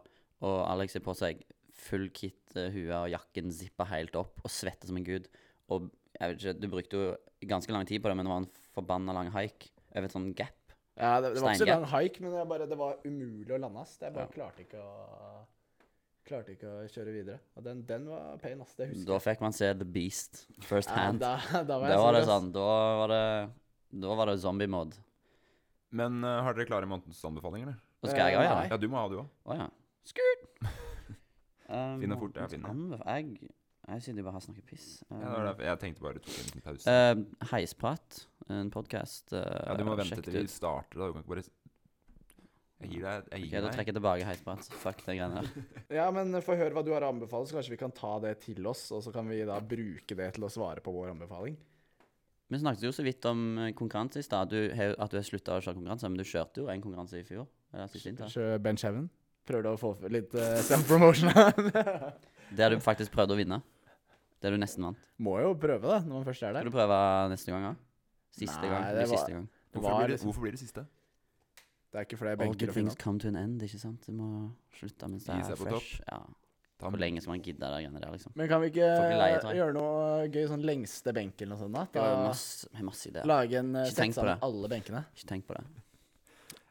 S3: Og Alex har på seg full kit, eh, huet og jakken zippa helt opp og svetter som en gud. Og jeg vet ikke, du brukte jo ganske lang tid på det, men det var en forbanna lang haik over et sånn gap.
S4: Ja, det, det var ikke så
S3: Steingap.
S4: lang haik, men det, bare, det var umulig å lande. ass. Jeg bare
S3: Ja.
S4: klarte ikke å Klarte ikke å kjøre videre. Og den, den var pain, ass. Det husker jeg.
S3: Da fikk man se The Beast first
S4: Ja,
S3: hand.
S4: da, da var
S3: da
S4: jeg
S3: var det
S4: sur, ass.
S3: sånn. Da var det, da var det zombie mode.
S2: Men eh, har dere klare månedens anbefalinger? eller?
S3: Og skal jeg
S4: Eh,
S3: òg gjøre
S4: nei.
S3: det?
S2: Ja, du må ha du òg.
S3: Å ja. Skurt!
S2: Finn det fort, ja, finn det.
S3: Jeg, jeg sitter jo bare her og snakker piss. Um,
S2: Ja, det var derfor- jeg tenkte bare du tok en liten pause.
S3: Eh, heisprat. en podkast.
S2: Ja,
S3: Eh,
S2: du må vente til vi starter, da. Du kan ikke bare s- Jeg gir deg jeg
S3: Ok,
S2: gir
S3: da
S2: meg.
S3: trekker jeg tilbake heisprat. Fuck de greiene der.
S4: Ja, men få høre hva du har å anbefale, så kanskje vi kan ta det til oss, og så kan vi da bruke det til å svare på vår anbefaling.
S3: Vi snakket jo så vidt om eh, konkurranse i stad. Du har jo- At du har slutta å kjøre konkurranse, men du kjørte jo en konkurranse i fjor. Eller sist vinter.
S4: Kanskje Ben Sheven? Prøver du å få f- litt eh, self-promotion her?
S3: Der du faktisk prøvde å vinne. Der du nesten vant.
S4: Må jo prøve, da, når man først er
S3: Skal
S4: der.
S3: du prøve neste gang òg? Siste
S4: Nei,
S3: gang.
S4: det
S3: Det blir
S4: var-
S3: siste gang.
S4: Det,
S2: Hvorfor
S4: var,
S2: blir, det,
S4: liksom-
S2: hvorfor blir det siste?
S4: det er ikke fordi
S3: All
S4: jeg benker
S3: good
S4: og finner
S3: things come to an end, ikke sant? Du må slutte mens det
S2: Gi
S3: er
S2: seg på
S3: fresh. Ja.
S2: Ta
S3: Hvor
S2: med-
S3: lenge skal man gidde de greiene der, liksom?
S4: Men kan vi
S3: Får ikke leie,
S4: ikke
S3: tror jeg.
S4: gjøre noe gøy sånn lengste benk eller noe sånt? da?
S3: Det var jo
S4: da
S3: masse, jeg har masse ideer.
S4: lage en eh,
S3: Ikke tenk
S4: sette
S3: på
S4: sammen
S3: det.
S4: alle benkene.
S3: Ikke tenk på det.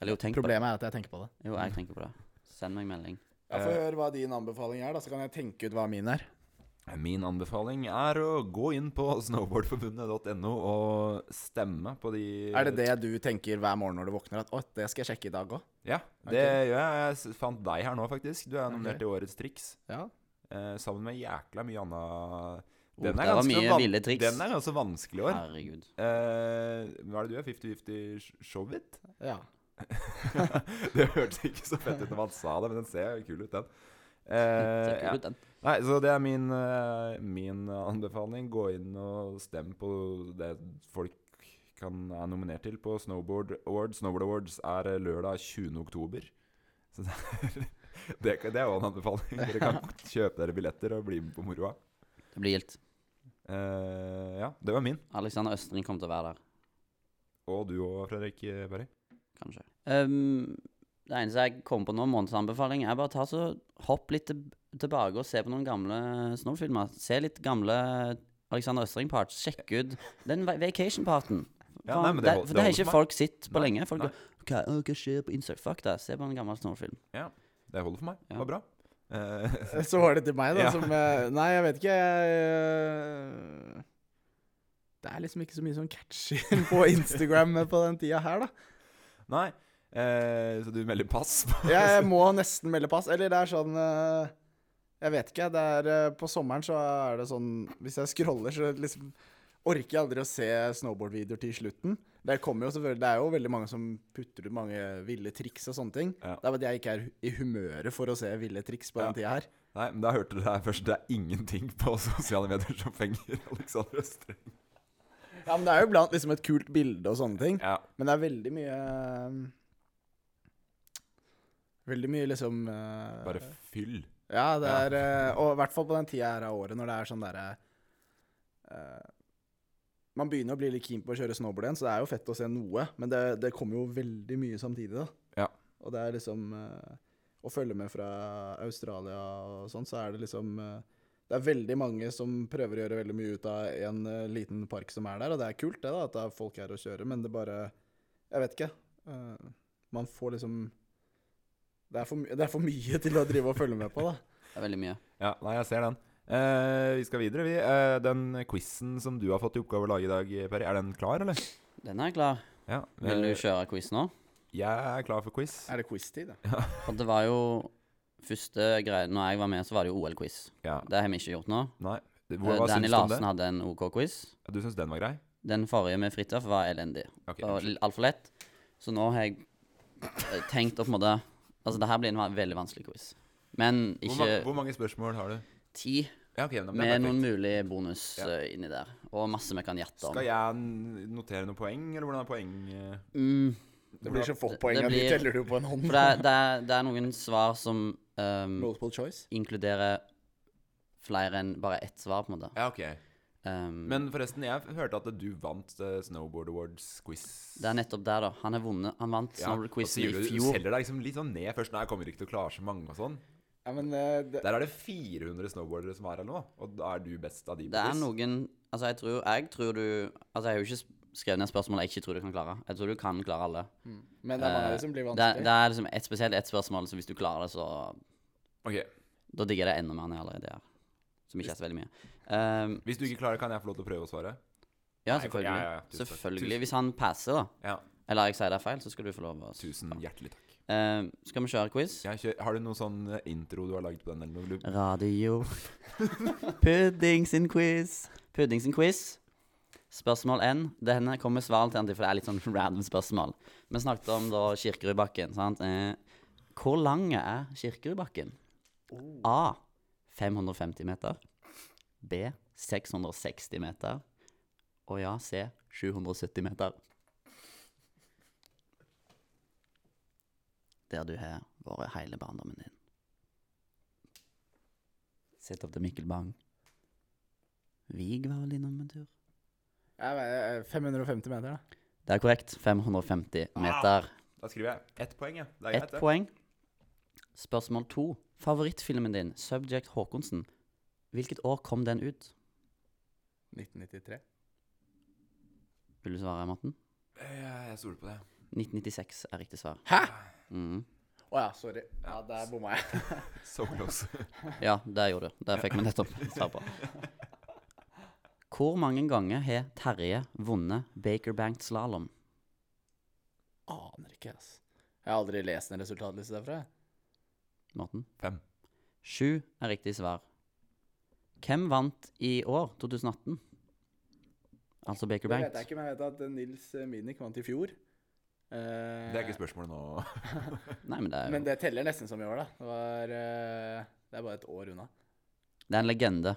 S3: Eller jo, tenk på det.
S4: Problemet er at jeg tenker på det. Eh.
S3: Jo, jeg tenker på det. Send meg en melding.
S4: Ja, Få høre hva din anbefaling er, da, så kan jeg tenke ut hva min er.
S2: Min anbefaling er å gå inn på snowboardforbundet.no og stemme på de
S4: Er det det du tenker hver morgen når du våkner? At 'å, det skal jeg sjekke i dag òg'?
S2: Ja, det gjør
S4: Ok.
S2: jeg. Jeg s- fant deg her nå, faktisk. Du er nominert til Årets triks.
S4: Ja.
S2: Eh, sammen med jækla mye anna
S3: Oh, det var mye
S2: van-
S3: ville triks.
S2: Den er ganske vanskelig i år.
S3: Herregud.
S2: Eh, hva er det du er? 50-50 sh- showbit?
S4: ja.
S2: det hørtes ikke så fett ut når man sa det, men den ser jo kul ut, den. Eh,
S3: Ser
S2: ja.
S3: kul ut, den.
S2: Nei, så det er min, eh, min anbefaling. Gå inn og stem på det folk kan er nominert til på Snowboard Awards. Snowboard Awards er eh, lørdag 20. oktober. Så det er, det, kan- det er jo en anbefaling. Dere kan kjøpe dere billetter og bli med på moroa.
S3: Det blir gildt.
S2: Eh, ja, det var min.
S3: Alexander Østring kommer til å være der,
S2: Og du òg, Fredrik eh, Berry.
S3: kanskje. Um, det eneste jeg kommer på nå, månedsanbefaling, er bare ta så hopp litt til- tilbake og se på noen gamle snowfilmer. Se litt gamle Alexander Østring-part. Sjekk ut den va- vacation-parten.
S2: Ja,
S3: Faen,
S2: nei, men det
S3: det,
S2: hold- det
S3: for
S2: holder
S3: det har
S2: for
S3: ikke
S2: meg.
S3: folk sett på
S2: Nei,
S3: lenge. Folk
S2: nei.
S3: går «Hva- å, Hva skjer på Insta? Fuck det. Se på en gammel snowfilm.
S2: Det holder for meg. Det
S3: Ja.
S2: var bra. Eh,
S4: Så var det til meg, da,
S2: Ja.
S4: som eh, Nei, jeg vet ikke, jeg eh, Det er liksom ikke så mye sånn catchy på Instagram på den tida her, da.
S2: nei, eh, så du melder pass? på-
S4: Jeg må nesten melde pass. Eller det er sånn eh, Jeg vet ikke, det er eh, På sommeren så er det sånn Hvis jeg scroller, så liksom Orker jeg aldri å se snowboardvideoer til slutten. Det kommer jo selvfølgelig Det er jo veldig mange som putter ut mange ville triks og sånne ting.
S2: Ja.
S4: Det er bare at jeg ikke er i humøret for å se ville triks på den tida her.
S2: Nei, men da hørte dere her først. Det er ingenting på sosiale medier som fenger Alexander Østre.
S4: Ja, men det er jo blant liksom et kult bilde og sånne ting.
S2: Ja.
S4: Men det er veldig mye um, Veldig mye liksom uh,
S2: Bare fyll.
S4: Ja, det er uh, Og i hvert fall på den tida her av året når det er sånn derre uh, Man begynner å bli litt keen på å kjøre snowboard igjen, så det er jo fett å se noe, men det, det kommer jo veldig mye samtidig, da.
S2: Ja.
S4: Og det er liksom uh, Å følge med fra Australia og sånn, så er det liksom uh, det er veldig mange som prøver å gjøre veldig mye ut av en eh, liten park som er der, og det er kult det da, at det er folk her å kjøre, men det bare, jeg vet ikke, eh, man får liksom, det er, for, my- det er for mye til å drive og følge med på da.
S3: Det er veldig mye.
S2: Ja, nei, jeg ser den. Eh, vi skal videre, vi. Eh, den quizen som du har fått i oppgave å lage i dag, Perry, er den klar, eller?
S3: Den er klar.
S2: Ja.
S3: Vil du
S2: eh,
S3: kjøre quiz nå?
S2: Jeg er klar for quiz.
S4: Er det quiz-tid da?
S3: For det var jo første greie Når jeg var med, så var det jo OL-quiz.
S2: Ja.
S3: Det har vi ikke gjort nå.
S2: Nei. Det-
S3: Eh,
S2: Hvor, hva syns du om
S3: Danny
S2: det?
S3: Larsen hadde en OK quiz.
S2: Ja, Du syns den var grei?
S3: Den forrige med Fridtjof var elendig.
S2: Ok,
S3: Og
S2: unnskyld.
S3: l- altfor lett. Så nå har jeg eh, tenkt å på en måte Altså, det her blir en va- veldig vanskelig quiz. Men
S2: hvor, mange,
S3: ikke
S2: hvor mange spørsmål har du?
S3: ti,
S2: Ja, ok, men det er
S3: med noen
S2: perfekt.
S3: mulig bonus
S2: Ja.
S3: eh, inni der. Og masse vi kan gjette om.
S2: Skal jeg n- notere noen poeng, eller hvordan er poeng... eh?
S3: Mm,
S4: Det blir så få
S3: Det-
S4: poeng,
S3: det
S4: og de
S3: blir-
S4: teller du på en hånd.
S3: for det, er- det, er, det er noen svar som ehm,
S4: Multiple choice?
S3: inkluderer flere enn bare ett svar, på en måte.
S2: Ja, ok.
S3: Ehm,
S2: Men forresten, jeg hørte at du vant eh, Snowboard Awards-quiz.
S3: Det er nettopp der, da. Han, har vunnet, han vant
S2: Ja, og
S3: Snowboard-quizen
S2: sier
S3: i
S2: du- Du
S3: fjor.
S2: selger deg liksom litt sånn ned først. Nei, jeg kommer ikke til å klare så mange og sånn.
S4: Ja, men eh, det,
S2: Der er det 400 snowboardere som er her nå, og da er du best av de. på
S3: Det er
S2: quiz.
S3: noen Altså, jeg tror, jeg tror du Altså, jeg har jo ikke s- skrevet ned spørsmål jeg ikke tror du kan klare. Jeg tror du kan klare alle.
S4: mm. men det er mange av
S3: Eh,
S4: de som blir
S3: Det, er-
S4: vanskelig.
S3: det er liksom et, spesielt ett spørsmål, så hvis du klarer det, så
S2: Ok,
S3: Da digger jeg det enda mer enn jeg allerede gjør. Som ikke er så veldig mye. Ehm,
S2: Hvis du ikke klarer, kan jeg få lov til å prøve å svare?
S3: ja,
S2: Nei, for- ja, ja, ja,
S3: selvfølgelig.
S2: tusen takk.
S3: Selvfølgelig.
S2: Tusen-
S3: Hvis han passer, da,
S2: Ja,
S3: eller jeg sier det er feil, så skal du få lov å
S2: tusen hjertelig takk.
S3: Ehm, Skal vi kjøre quiz?
S2: Jeg kjører, har du noen sånn eh, intro du har lagd på den, eller noe? Du,
S3: Radio. Pudding sin quiz. Pudding sin quiz. Spørsmål N. Denne kommer med svar alternativ, for det er litt sånn random spørsmål. Vi snakket om da Kirkerudbakken, sant. Eh, hvor lang er Kirkerudbakken? A. 550 meter. B. 660 meter. Og ja, C. 770 meter. Der du har vært hele barndommen din. Sett opp til Mikkel Bang. Vig var vel innom en tur.
S4: Jeg vet, 550 meter, da.
S3: Det er korrekt. 550 meter.
S2: Da skriver jeg ett poeng, Ah, jeg. Det er greit,
S3: Ett
S2: det.
S3: poeng. Spørsmål to. Favorittfilmen din, Subject Haakonsen. Hvilket år kom den ut?
S4: 1993.
S3: Vil du svare, Morten?
S2: Jeg, jeg stoler på det.
S3: 1996 er riktig svar.
S4: Hæ?
S3: Mhm.
S4: Å ja, sorry. Ja, Der bomma jeg.
S2: So close.
S3: Ja, det gjorde du. Det fikk vi nettopp svar på. Hvor mange ganger har Terje vunnet Baker Bank slalåm?
S4: Aner ikke, ass. Jeg har aldri lest en resultatliste derfra. jeg.
S3: Morten?
S2: Fem.
S3: Sju er riktig svar. Hvem vant i år, 2018? Altså Baker
S4: Det
S3: Bank.
S4: vet jeg ikke, men jeg vet at eh, Nils eh, Minik vant i fjor. Eh,
S2: Det er ikke spørsmålet nå.
S3: Nei, men det er jo
S4: Men det teller nesten som i år, da. Det, var, eh, det er bare et år unna.
S3: Det er en legende.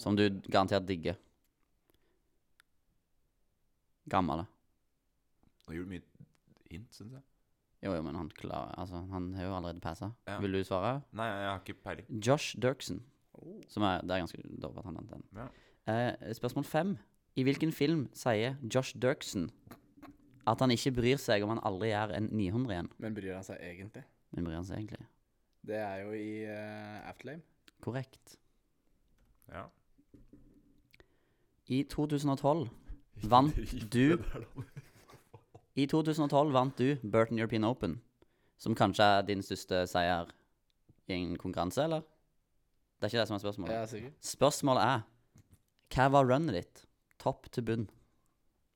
S3: Som du garantert digger. Gammel.
S2: Nå gjorde du mye hint, syns jeg.
S3: Jo, jo, men han klarer Altså, han har jo allerede passa.
S2: Ja.
S3: Vil du svare?
S2: Nei, jeg har ikke peiling.
S3: Josh Dirksen. Som er, det er ganske dårlig at han vant den.
S2: Oh. Ja.
S3: Eh, spørsmål fem. I hvilken film sier Josh Dirksen at han ikke bryr seg om han aldri gjør en 900 igjen?
S4: Men bryr han seg egentlig?
S3: Men bryr han seg egentlig?
S4: Det er jo i uh, Afterlame.
S3: Korrekt.
S2: Ja.
S3: I 2012 vant du I 2012 vant du Burton European Open, som kanskje er din største seier i en konkurranse, eller? Det er ikke det som er spørsmålet.
S4: Ja, sikkert.
S3: Spørsmålet er Hva var runnet ditt? Topp til bunn.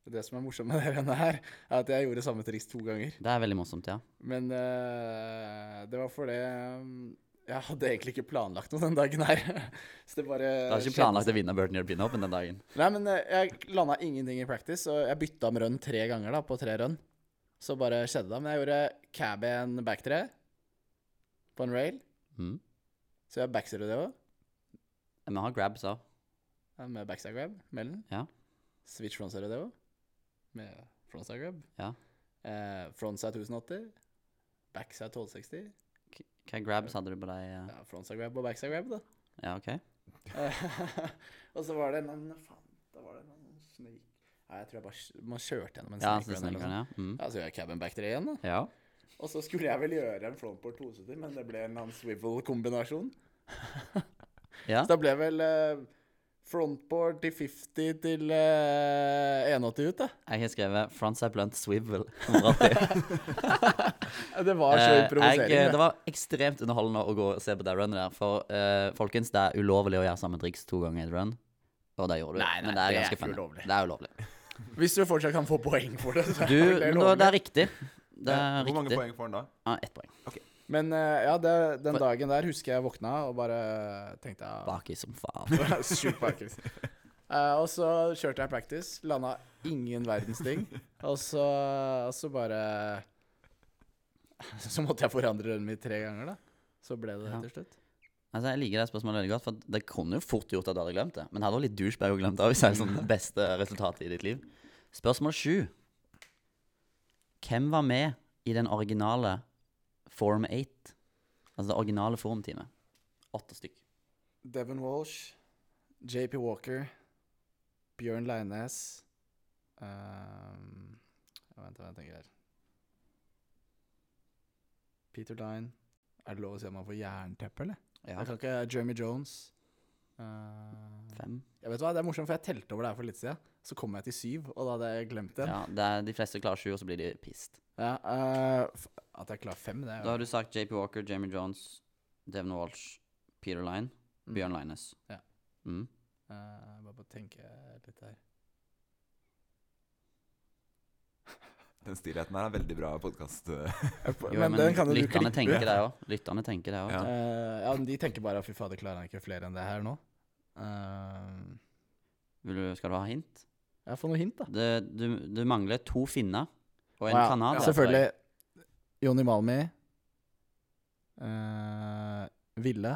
S4: Det som er morsomt med det rennet her, er at jeg gjorde samme triks to ganger.
S3: Det er veldig morsomt, ja.
S4: Men eh, det var fordi um, jeg hadde egentlig ikke planlagt noe den dagen her. Så det bare
S3: Du har ikke planlagt å vinne Burton European Open den dagen.
S4: Nei, men eh, jeg landa ingenting i practice, og jeg bytta om run tre ganger da, på tre run. Så bare skjedde det. Men jeg gjorde cab en backtre på en rail,
S3: Mm.
S4: så jeg backzero det òg.
S3: Men vi har grabs òg.
S4: Med backside grab, mellom.
S3: Ja.
S4: Switch frontside det òg, med frontside grab.
S3: Ja.
S4: Eh, frontside 1080, backside 1260.
S3: Hva grabs hadde du på deg? eh?
S4: Ja, frontside grab og backside grab, da.
S3: Ja, OK.
S4: Eh, og så var det en annen- Faen, da var det en annen snake Nei, jeg tror jeg bare kj- Man kjørte gjennom en
S3: Ja,
S4: snake
S3: så
S4: run eller noe
S3: snikker han,
S4: sånt.
S3: ja. Mm.
S4: Ja, så gjør jeg cabin back three igjen, da.
S3: Ja. Mm.
S4: Og så skulle jeg vel gjøre en frontboard 270, men det ble en eller annen swivel-kombinasjon.
S3: ja.
S4: Så da ble vel eh, frontboard til 50 til eh, 180 ut, da.
S3: Jeg har skrevet 'Frontside Blunt Swivel'. 180.
S4: Ja, Det var så
S3: Eh,
S4: improvisering.
S3: jeg, eh,
S4: det.
S3: det var ekstremt underholdende å gå og se på det runnet der. For eh, folkens, det er ulovlig å gjøre samme triks to ganger i et run. Og det gjorde du.
S4: Nei, nei,
S3: men det er
S4: det er
S3: ganske
S4: ikke
S3: funny.
S4: ulovlig.
S3: Det er ulovlig.
S4: Hvis du fortsatt kan få poeng for det, så
S3: Du,
S4: er det
S3: men det,
S4: lovlig.
S3: det er riktig. Det er
S2: Hvor mange
S3: riktig.
S2: poeng får han da?
S3: Ja, ett poeng.
S4: Men eh, ja, det, den
S3: For-
S4: dagen der husker jeg våkna og bare tenkte ja,
S3: Baki som faen.
S4: Sjukt bakkes. Eh, og så kjørte jeg practice, landa ingen verdens ting. Og så, og så bare Så måtte jeg forandre runden min tre ganger, da. Så ble det
S3: Ja.
S4: til slutt.
S3: Altså, jeg liker det spørsmålet veldig godt, for det kunne jo fort gjort at du hadde glemt det. Men det hadde vært litt douchebag å glemme det òg, hvis det er sånn det beste resultatet i ditt liv. Spørsmål sju. Hvem var med i den originale Form 8? Altså det originale formteamet. Åtte stykk.
S4: Devon Walsh, JP Walker, Bjørn Leines ehm, ja, Vent, hva jeg tenker her Peter Dine. Er det lov å si at man får jernteppe, eller?
S3: Ja,
S4: Jeg kan ikke Jeremy Jones. Eh,
S3: fem.
S4: Jeg vet hva, Det er morsomt, for jeg telte over det her for litt siden. Så kom jeg til syv, og da hadde jeg glemt den. Ja.
S3: Ja, det er, de fleste klarer sju, og så blir de pissed.
S4: eh, f- at jeg klarer fem, det er
S3: Da
S4: jo
S3: har du sagt JP Walker, Jamie Jones, Devon Walsh, Peter Line,
S4: Mm.
S3: Bjørn Lines.
S4: Ja.
S3: Mm.
S4: Eh, Bare på å tenke litt her.
S2: Den stillheten her er veldig bra eh. podkast.
S3: Jo,
S4: men, den kan jo du
S3: lytterne
S4: klippe.
S3: tenker det òg. Lytterne tenker det også.
S2: Ja.
S4: Eh, ja, men de tenker bare at fy fader, klarer han ikke flere enn det her nå? Eh,
S3: Vil du, skal du ha hint?
S4: Jeg får noe hint, da.
S3: Det, du, du mangler to finner og en
S4: Å ja,
S3: kanadier. tror jeg.
S4: Selvfølgelig. Jonny Malmi. Eh, Ville.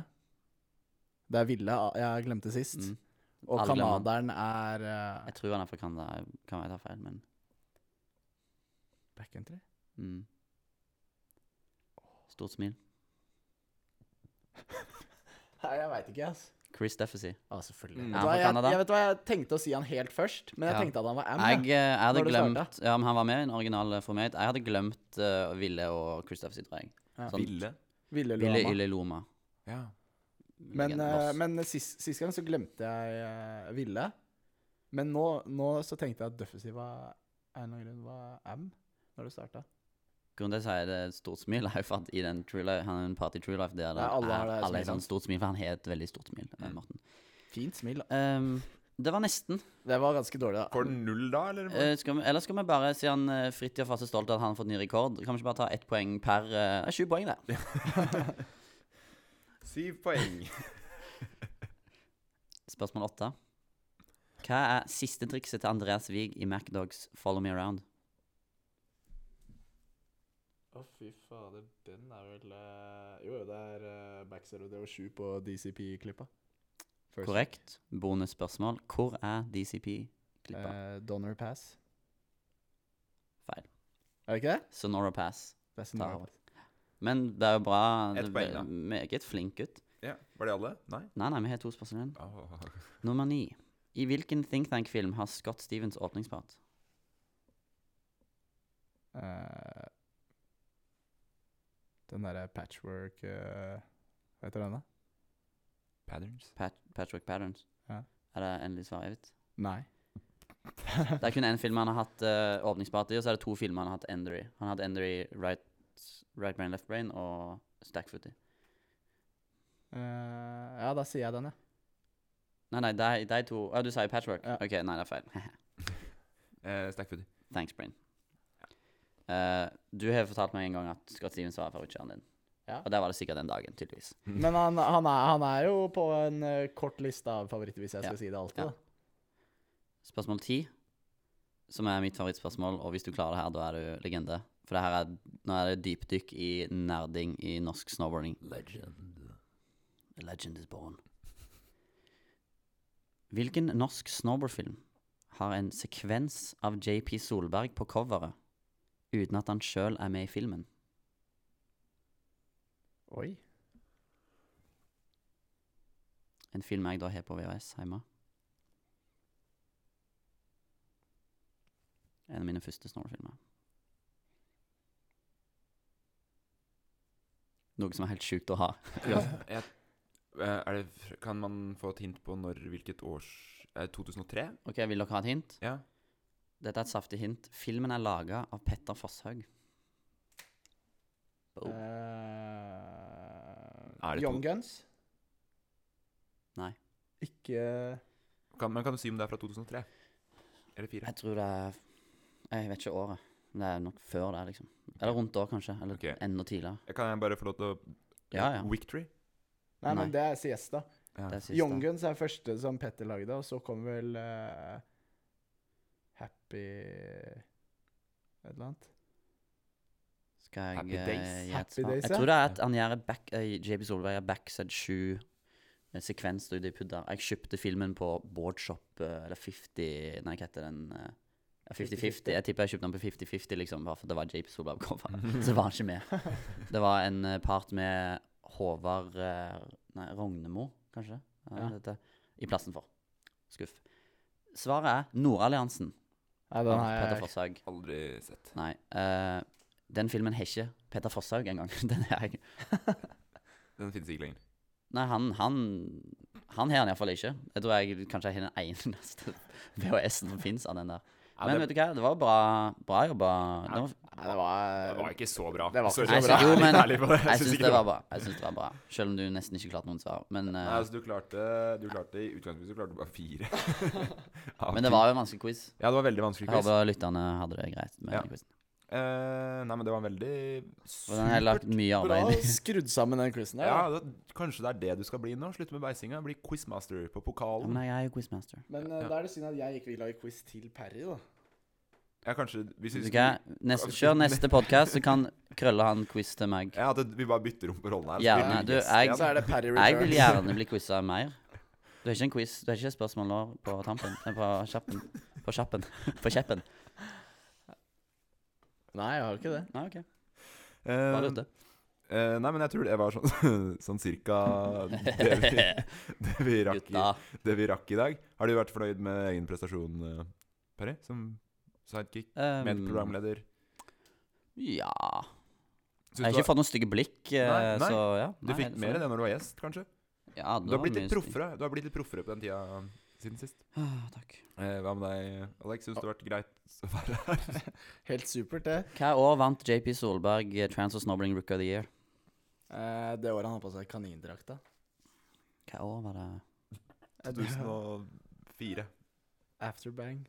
S4: Det er Ville ah, jeg glemte sist.
S3: Mm.
S4: Og
S3: Alle glemmer han.
S4: canadieren er eh,
S3: Jeg tror han er fra Canada. jeg- Kan være jeg tar feil, men
S4: Backcountry?
S3: mm. Stort smil.
S4: Nei, jeg veit ikke, altså.
S3: Chris Deffesy.
S4: Ja, selvfølgelig.
S2: Mm.
S4: Vet
S3: Ja,
S4: du hva,
S3: fra
S4: jeg,
S3: Canada.
S4: jeg vet hva, jeg tenkte å si han helt først, men jeg
S3: Ja.
S4: tenkte at han var M.
S3: Jeg,
S4: jeg.
S3: eh, jeg hadde
S4: Når du
S3: glemt Ja, men han var med i en original eh, for meg. Jeg hadde glemt eh, Ville og Chris Deffesy, tror jeg.
S4: Ja.
S3: Sånn,
S2: Ville.
S4: Ville
S3: Ville
S4: Luama.
S3: Ille Loma.
S2: Ja.
S4: Men,
S3: Legenden,
S4: eh,
S3: Lars.
S4: men sist, sist gang så glemte jeg eh, Ville. Men nå, nå så tenkte jeg at Duffesy var av en eller annen grunn var M når det starta.
S3: Grunnen til at jeg sier det er et stort smil, er jo for at i den True Life, han er en part i True Life der det
S4: Ja, alle har
S3: er
S4: det
S3: alle er
S4: smilet.
S3: sånn stort smil, for han har et veldig stort smil, eh, Morten.
S4: Fint smil. da.
S3: Ehm, det var nesten.
S4: Det var ganske dårlig, da.
S2: Får den null da, eller?
S3: Eh, skal vi, eller skal vi bare, siden uh, Fritid og Fast er stolt av at han har fått ny rekord, kan vi ikke bare ta ett poeng per eh, Det er Sju poeng, det. Eh,
S2: Syv poeng.
S3: Spørsmål åtte. Hva er siste trikset til Andreas Wiig i MacDogs Follow Me Around?
S4: Å, fy fader. Den er vel eh, Jo, jo, det er uh, Baxter og DO7 på DCP-klippa.
S3: Korrekt. Bonusspørsmål. Hvor er DCP-klippa?
S2: Eh.
S4: Donor Eh, Pass.
S3: Feil.
S4: Er det ikke det?
S3: Sonora Pass.
S4: Det er
S3: Sonora
S4: Sonora
S3: Ta.
S4: Pass.
S3: Men det er jo bra.
S2: Ett
S3: Det-
S2: poeng, da.
S3: Meget flink gutt.
S2: Ja. Var det alle? Nei?
S3: Nei, nei, vi har to spørsmål igjen.
S2: Ah.
S3: Nummer ni. I hvilken Think Tank-film har Scott Stevens åpningspart?
S4: Eh, den derre patchwork eh, Hva heter den, da?
S2: Patterns.
S3: Pat Patrick Patterns?
S4: Ja.
S3: Er det endelig svar jeg vet?
S4: Nei.
S3: Det er kun én film han har hatt eh, åpningspart i, og så er det to filmer han har hatt Ender i. Han har hatt Ender i right, right Brain, Left Brain og Stackfoot i.
S4: Eh, ja, da sier jeg den, ja.
S3: Nei, nei, de, de to Å, du sa jo Patchwork.
S4: Ja.
S3: OK, nei, det er feil.
S2: Eh, Stackfoot.
S3: Thanks, Brain. Eh, du har fortalt meg en gang at Scott Stevens var favorittkjæren din.
S4: Ja.
S3: Og der var det sikkert den dagen, tydeligvis.
S4: Men
S2: ah,
S4: han, han, er, han er jo på en eh, kort liste av favoritter, hvis jeg skal
S3: Ja.
S4: si det alltid.
S3: Ja.
S4: da.
S3: Spørsmål ti, som er mitt favorittspørsmål, og hvis du klarer det her, da er du legende. For det her er, nå er det dypdykk i nerding i norsk snowboarding.
S2: Legend.
S3: The legend is born. Hvilken norsk snowboardfilm har en sekvens av JP Solberg på coveret uten at han sjøl er med i filmen?
S4: Oi.
S3: En film jeg da har på VHS hjemme. En av mine første snowboardfilmer. Noe som er helt sjukt å ha.
S2: Ja. Jeg, eh, er det, fr- kan man få et hint på når, hvilket års eh, 2003?
S3: Ok, Vil dere ha et hint?
S2: Ja.
S3: Dette er et saftig hint. Filmen er laga av Petter Fosshaug. Boom.
S4: Eh,
S2: Er det
S4: Young
S2: to-
S4: Guns?
S3: Nei.
S4: Ikke
S2: Kan, men kan du si om det er fra 2003? Eller 4?
S3: Jeg tror det er Jeg vet ikke året. men Det er nok før det, liksom. Eller rundt da, kanskje. Eller
S2: Ok.
S3: enda tidligere.
S2: Kan jeg bare få lov til å
S3: Ja, ja.
S2: Victory?
S4: Nei,
S3: Nei.
S4: men det er Siesta.
S2: Ja.
S3: Det er siste.
S4: Young Guns er første som Petter lagde, og så kom vel eh, Happy Et eller annet.
S3: Skal jeg
S2: Happy
S3: eh,
S2: Days.
S3: gi et
S4: Happy
S3: svar?
S4: Days,
S3: Jeg
S4: ja.
S3: tror det er at han gjør back, eh, JB Solveig gjør Backside 7 eh, sekvens ute i pudder. Jeg kjøpte filmen på Boardshop eh, eller 50 Nei, hva heter den? eh, ja, 50-50. Jeg tipper jeg kjøpte den på 50-50, liksom, bare for det var JB Solveig på coveret. Så var han ikke med. Det var en eh, part med Håvard eh, Nei, Rognemo, kanskje? Ja,
S4: Ja.
S3: dette. I plassen for. Skuff. Svaret er Nordalliansen
S4: Nei,
S3: av
S4: den har
S3: Petter
S4: jeg
S3: Fosshaug.
S2: Aldri sett.
S3: Nei. eh, den filmen har ikke Petter Fosshaug engang. Den er jeg
S2: Den finnes ikke lenger.
S3: Nei, han Han, han har den iallfall ikke. Jeg tror jeg kanskje jeg har den eneste VHS-en som fins av den der. Men
S2: det-
S3: vet du hva, det var bra, bra jobba. Det var,
S4: Nei, det var, eh,
S2: Det var ikke så bra.
S4: Det var ikke
S2: Sorry,
S4: så
S2: jeg
S3: bra.
S2: er
S3: Jo, men
S2: helt ærlig på det.
S3: jeg
S2: synes
S3: syns
S2: ikke
S3: det var bra. Jeg synes det var bra Selv om du nesten ikke klarte noen svar. Men, eh,
S2: Nei, altså du klarte, du klarte i utgangspunktet så klarte du bare fire. Av
S3: men det
S2: ti.
S3: var jo en vanskelig quiz.
S2: Ja, det var veldig vanskelig
S3: Jeg
S2: quiz.
S3: håper lytterne hadde det greit med
S2: Ja.
S3: den quizen.
S2: Eh, nei, men det var en veldig
S3: Og den har jeg lagt mye
S4: Bra
S3: arbeid i.
S4: skrudd sammen den quizen der.
S2: Ja,
S4: da.
S2: da, Kanskje det er det du skal bli nå? Slutte med beisinga? Bli quizmaster på
S3: Ja,
S2: pokalen?
S3: men jeg er jo quizmaster.
S4: Men eh, da er det synd at jeg ikke vil lage quiz til Parry, da.
S2: Ja, kanskje hvis vi
S3: Vet du
S2: skulle
S3: hva? Neste, kjør neste podkast, så kan Krølle ha en quiz til meg.
S2: Ja, at vi bare bytter om på rollene her.
S3: Gjerne.
S2: Spiller
S3: Du,
S2: gjest
S3: jeg-
S2: igjen.
S4: Så er det Parry
S3: Jeg
S4: Returns.
S3: vil gjerne bli quiza mer. Du har ikke en quiz, du har ikke et spørsmål nå på tampen eh, På kjappen. På kjappen. På kjeppen.
S4: Nei, jeg har ikke det.
S3: Nei, OK.
S2: Eh,
S3: Bare ute.
S2: eh, nei, men jeg tror det var sånn, sånn cirka det vi, det, vi rakk i,
S3: Gutta.
S2: det vi rakk i dag. Har du vært fornøyd med egen prestasjon, eh, Perry? Som sidekick,
S3: Um,
S2: medprogramleder?
S3: ja
S2: Syns
S3: Jeg har
S2: du,
S3: ikke fått noen stygge blikk, eh,
S2: Nei, nei.
S3: så ja.
S2: var- du fikk mer av det når du var gjest, kanskje?
S3: Ja, det
S2: Du har
S3: var
S2: blitt
S3: mye
S2: litt
S3: stygg.
S2: proffere Du har blitt litt proffere på den tida siden sist.
S3: Ah, takk.
S2: Eh, hva med deg, Alex? Syns det har vært greit å være her?
S4: Helt supert, det.
S3: Hva år vant JP Solberg eh, Transfer Snowbling Rook of the Year?
S4: Eh, det året han har på seg kanindrakta.
S3: Hva år var det?
S2: 2004.
S4: Afterbang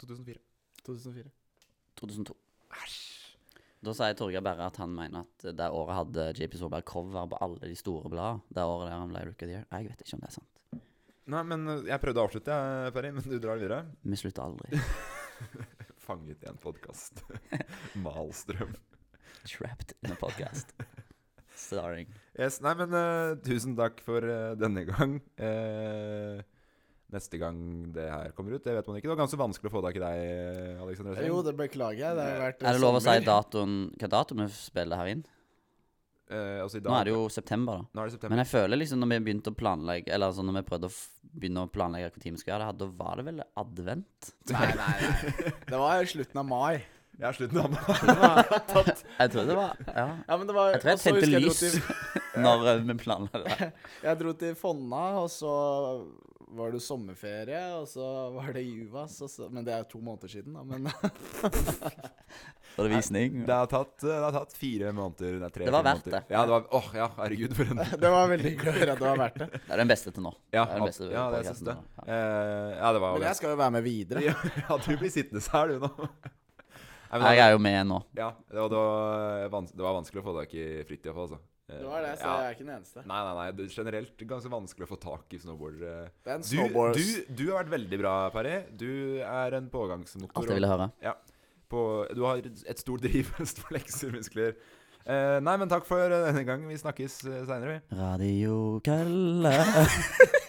S2: 2004.
S4: 2004.
S3: 2002. Da sier Torgeir Berre at han mener at det året hadde JP Solberg cover på alle de store bladene. Det året der han ble Rook of the Year. Jeg vet ikke om det er sant.
S2: Nei, men eh, jeg prøvde å avslutte, jeg, Perry, men du drar videre.
S3: Vi slutter aldri.
S2: Fanget i en podkast. Malstrøm.
S3: Trapped in a podcast. Starring.
S2: Yes, nei, men eh, tusen takk for eh, denne gang. Eh, neste gang det her kommer ut, det vet man ikke. Det var ganske vanskelig å få tak i deg, eh, Alexander Østing.
S4: Jo, det beklager jeg. Det har vært eh,
S3: Er det lov å si
S4: sommer.
S3: datoen, hva dato vi spiller her inn?
S2: Eh, altså, i dag,
S3: Nå er det jo september, da.
S2: nå er det
S3: Men
S2: september.
S3: jeg føler liksom når vi begynte å planlegge Eller altså når vi prøvde å f begynne å planlegge hvor tid vi skulle gjøre det, her, da var det vel advent?
S4: Nei, nei, nei. Det var slutten av mai.
S2: Jeg er slutten av meg.
S3: Jeg tror det var Ja.
S4: Ja, men det var,
S3: Jeg tror jeg
S4: og så husker
S3: tente
S4: jeg dro
S3: lys
S4: til-
S3: når eh, vi planla det.
S4: Jeg dro til Fonna, og så var det sommerferie, og så var det Juvas. Og så, men det er jo to måneder siden, da. Men
S3: For det visning.
S2: Det har tatt, eh, det har tatt fire måneder. Nei, tre,
S3: Det var
S2: fire
S3: verdt
S2: måneder.
S3: det.
S2: Ja, det var Åh, ja, herregud, for en
S4: det var veldig hyggelig å høre at det var verdt det.
S3: Det er den beste til nå.
S2: Ja,
S3: det er den
S2: ab-
S3: beste
S2: ja det syns
S3: podcasten
S2: jeg.
S3: nå. Ja.
S2: Eh, ja, det var
S4: Men jeg skal jo være med videre.
S2: Ja, ja, du blir sittende her, du, nå. Nei, men
S3: Jeg er jo med nå.
S2: Ja, det var, det var, vans det var vanskelig å få tak i fritt iallfall, altså. Eh,
S4: Det var det, så
S2: ja.
S4: jeg er ikke den eneste.
S2: Nei, nei, nei, det er generelt ganske vanskelig å få tak i snowboardere.
S4: Det er en
S2: Du,
S4: snowboard
S2: du, du har vært veldig bra, Parry. Du er en pågangsmotor.
S3: Alt jeg ville høre.
S2: På, du har et stort driv, store leksermuskler. Eh, nei, men takk for denne gang. Vi snakkes eh, seinere, vi.
S3: Radio Kølle.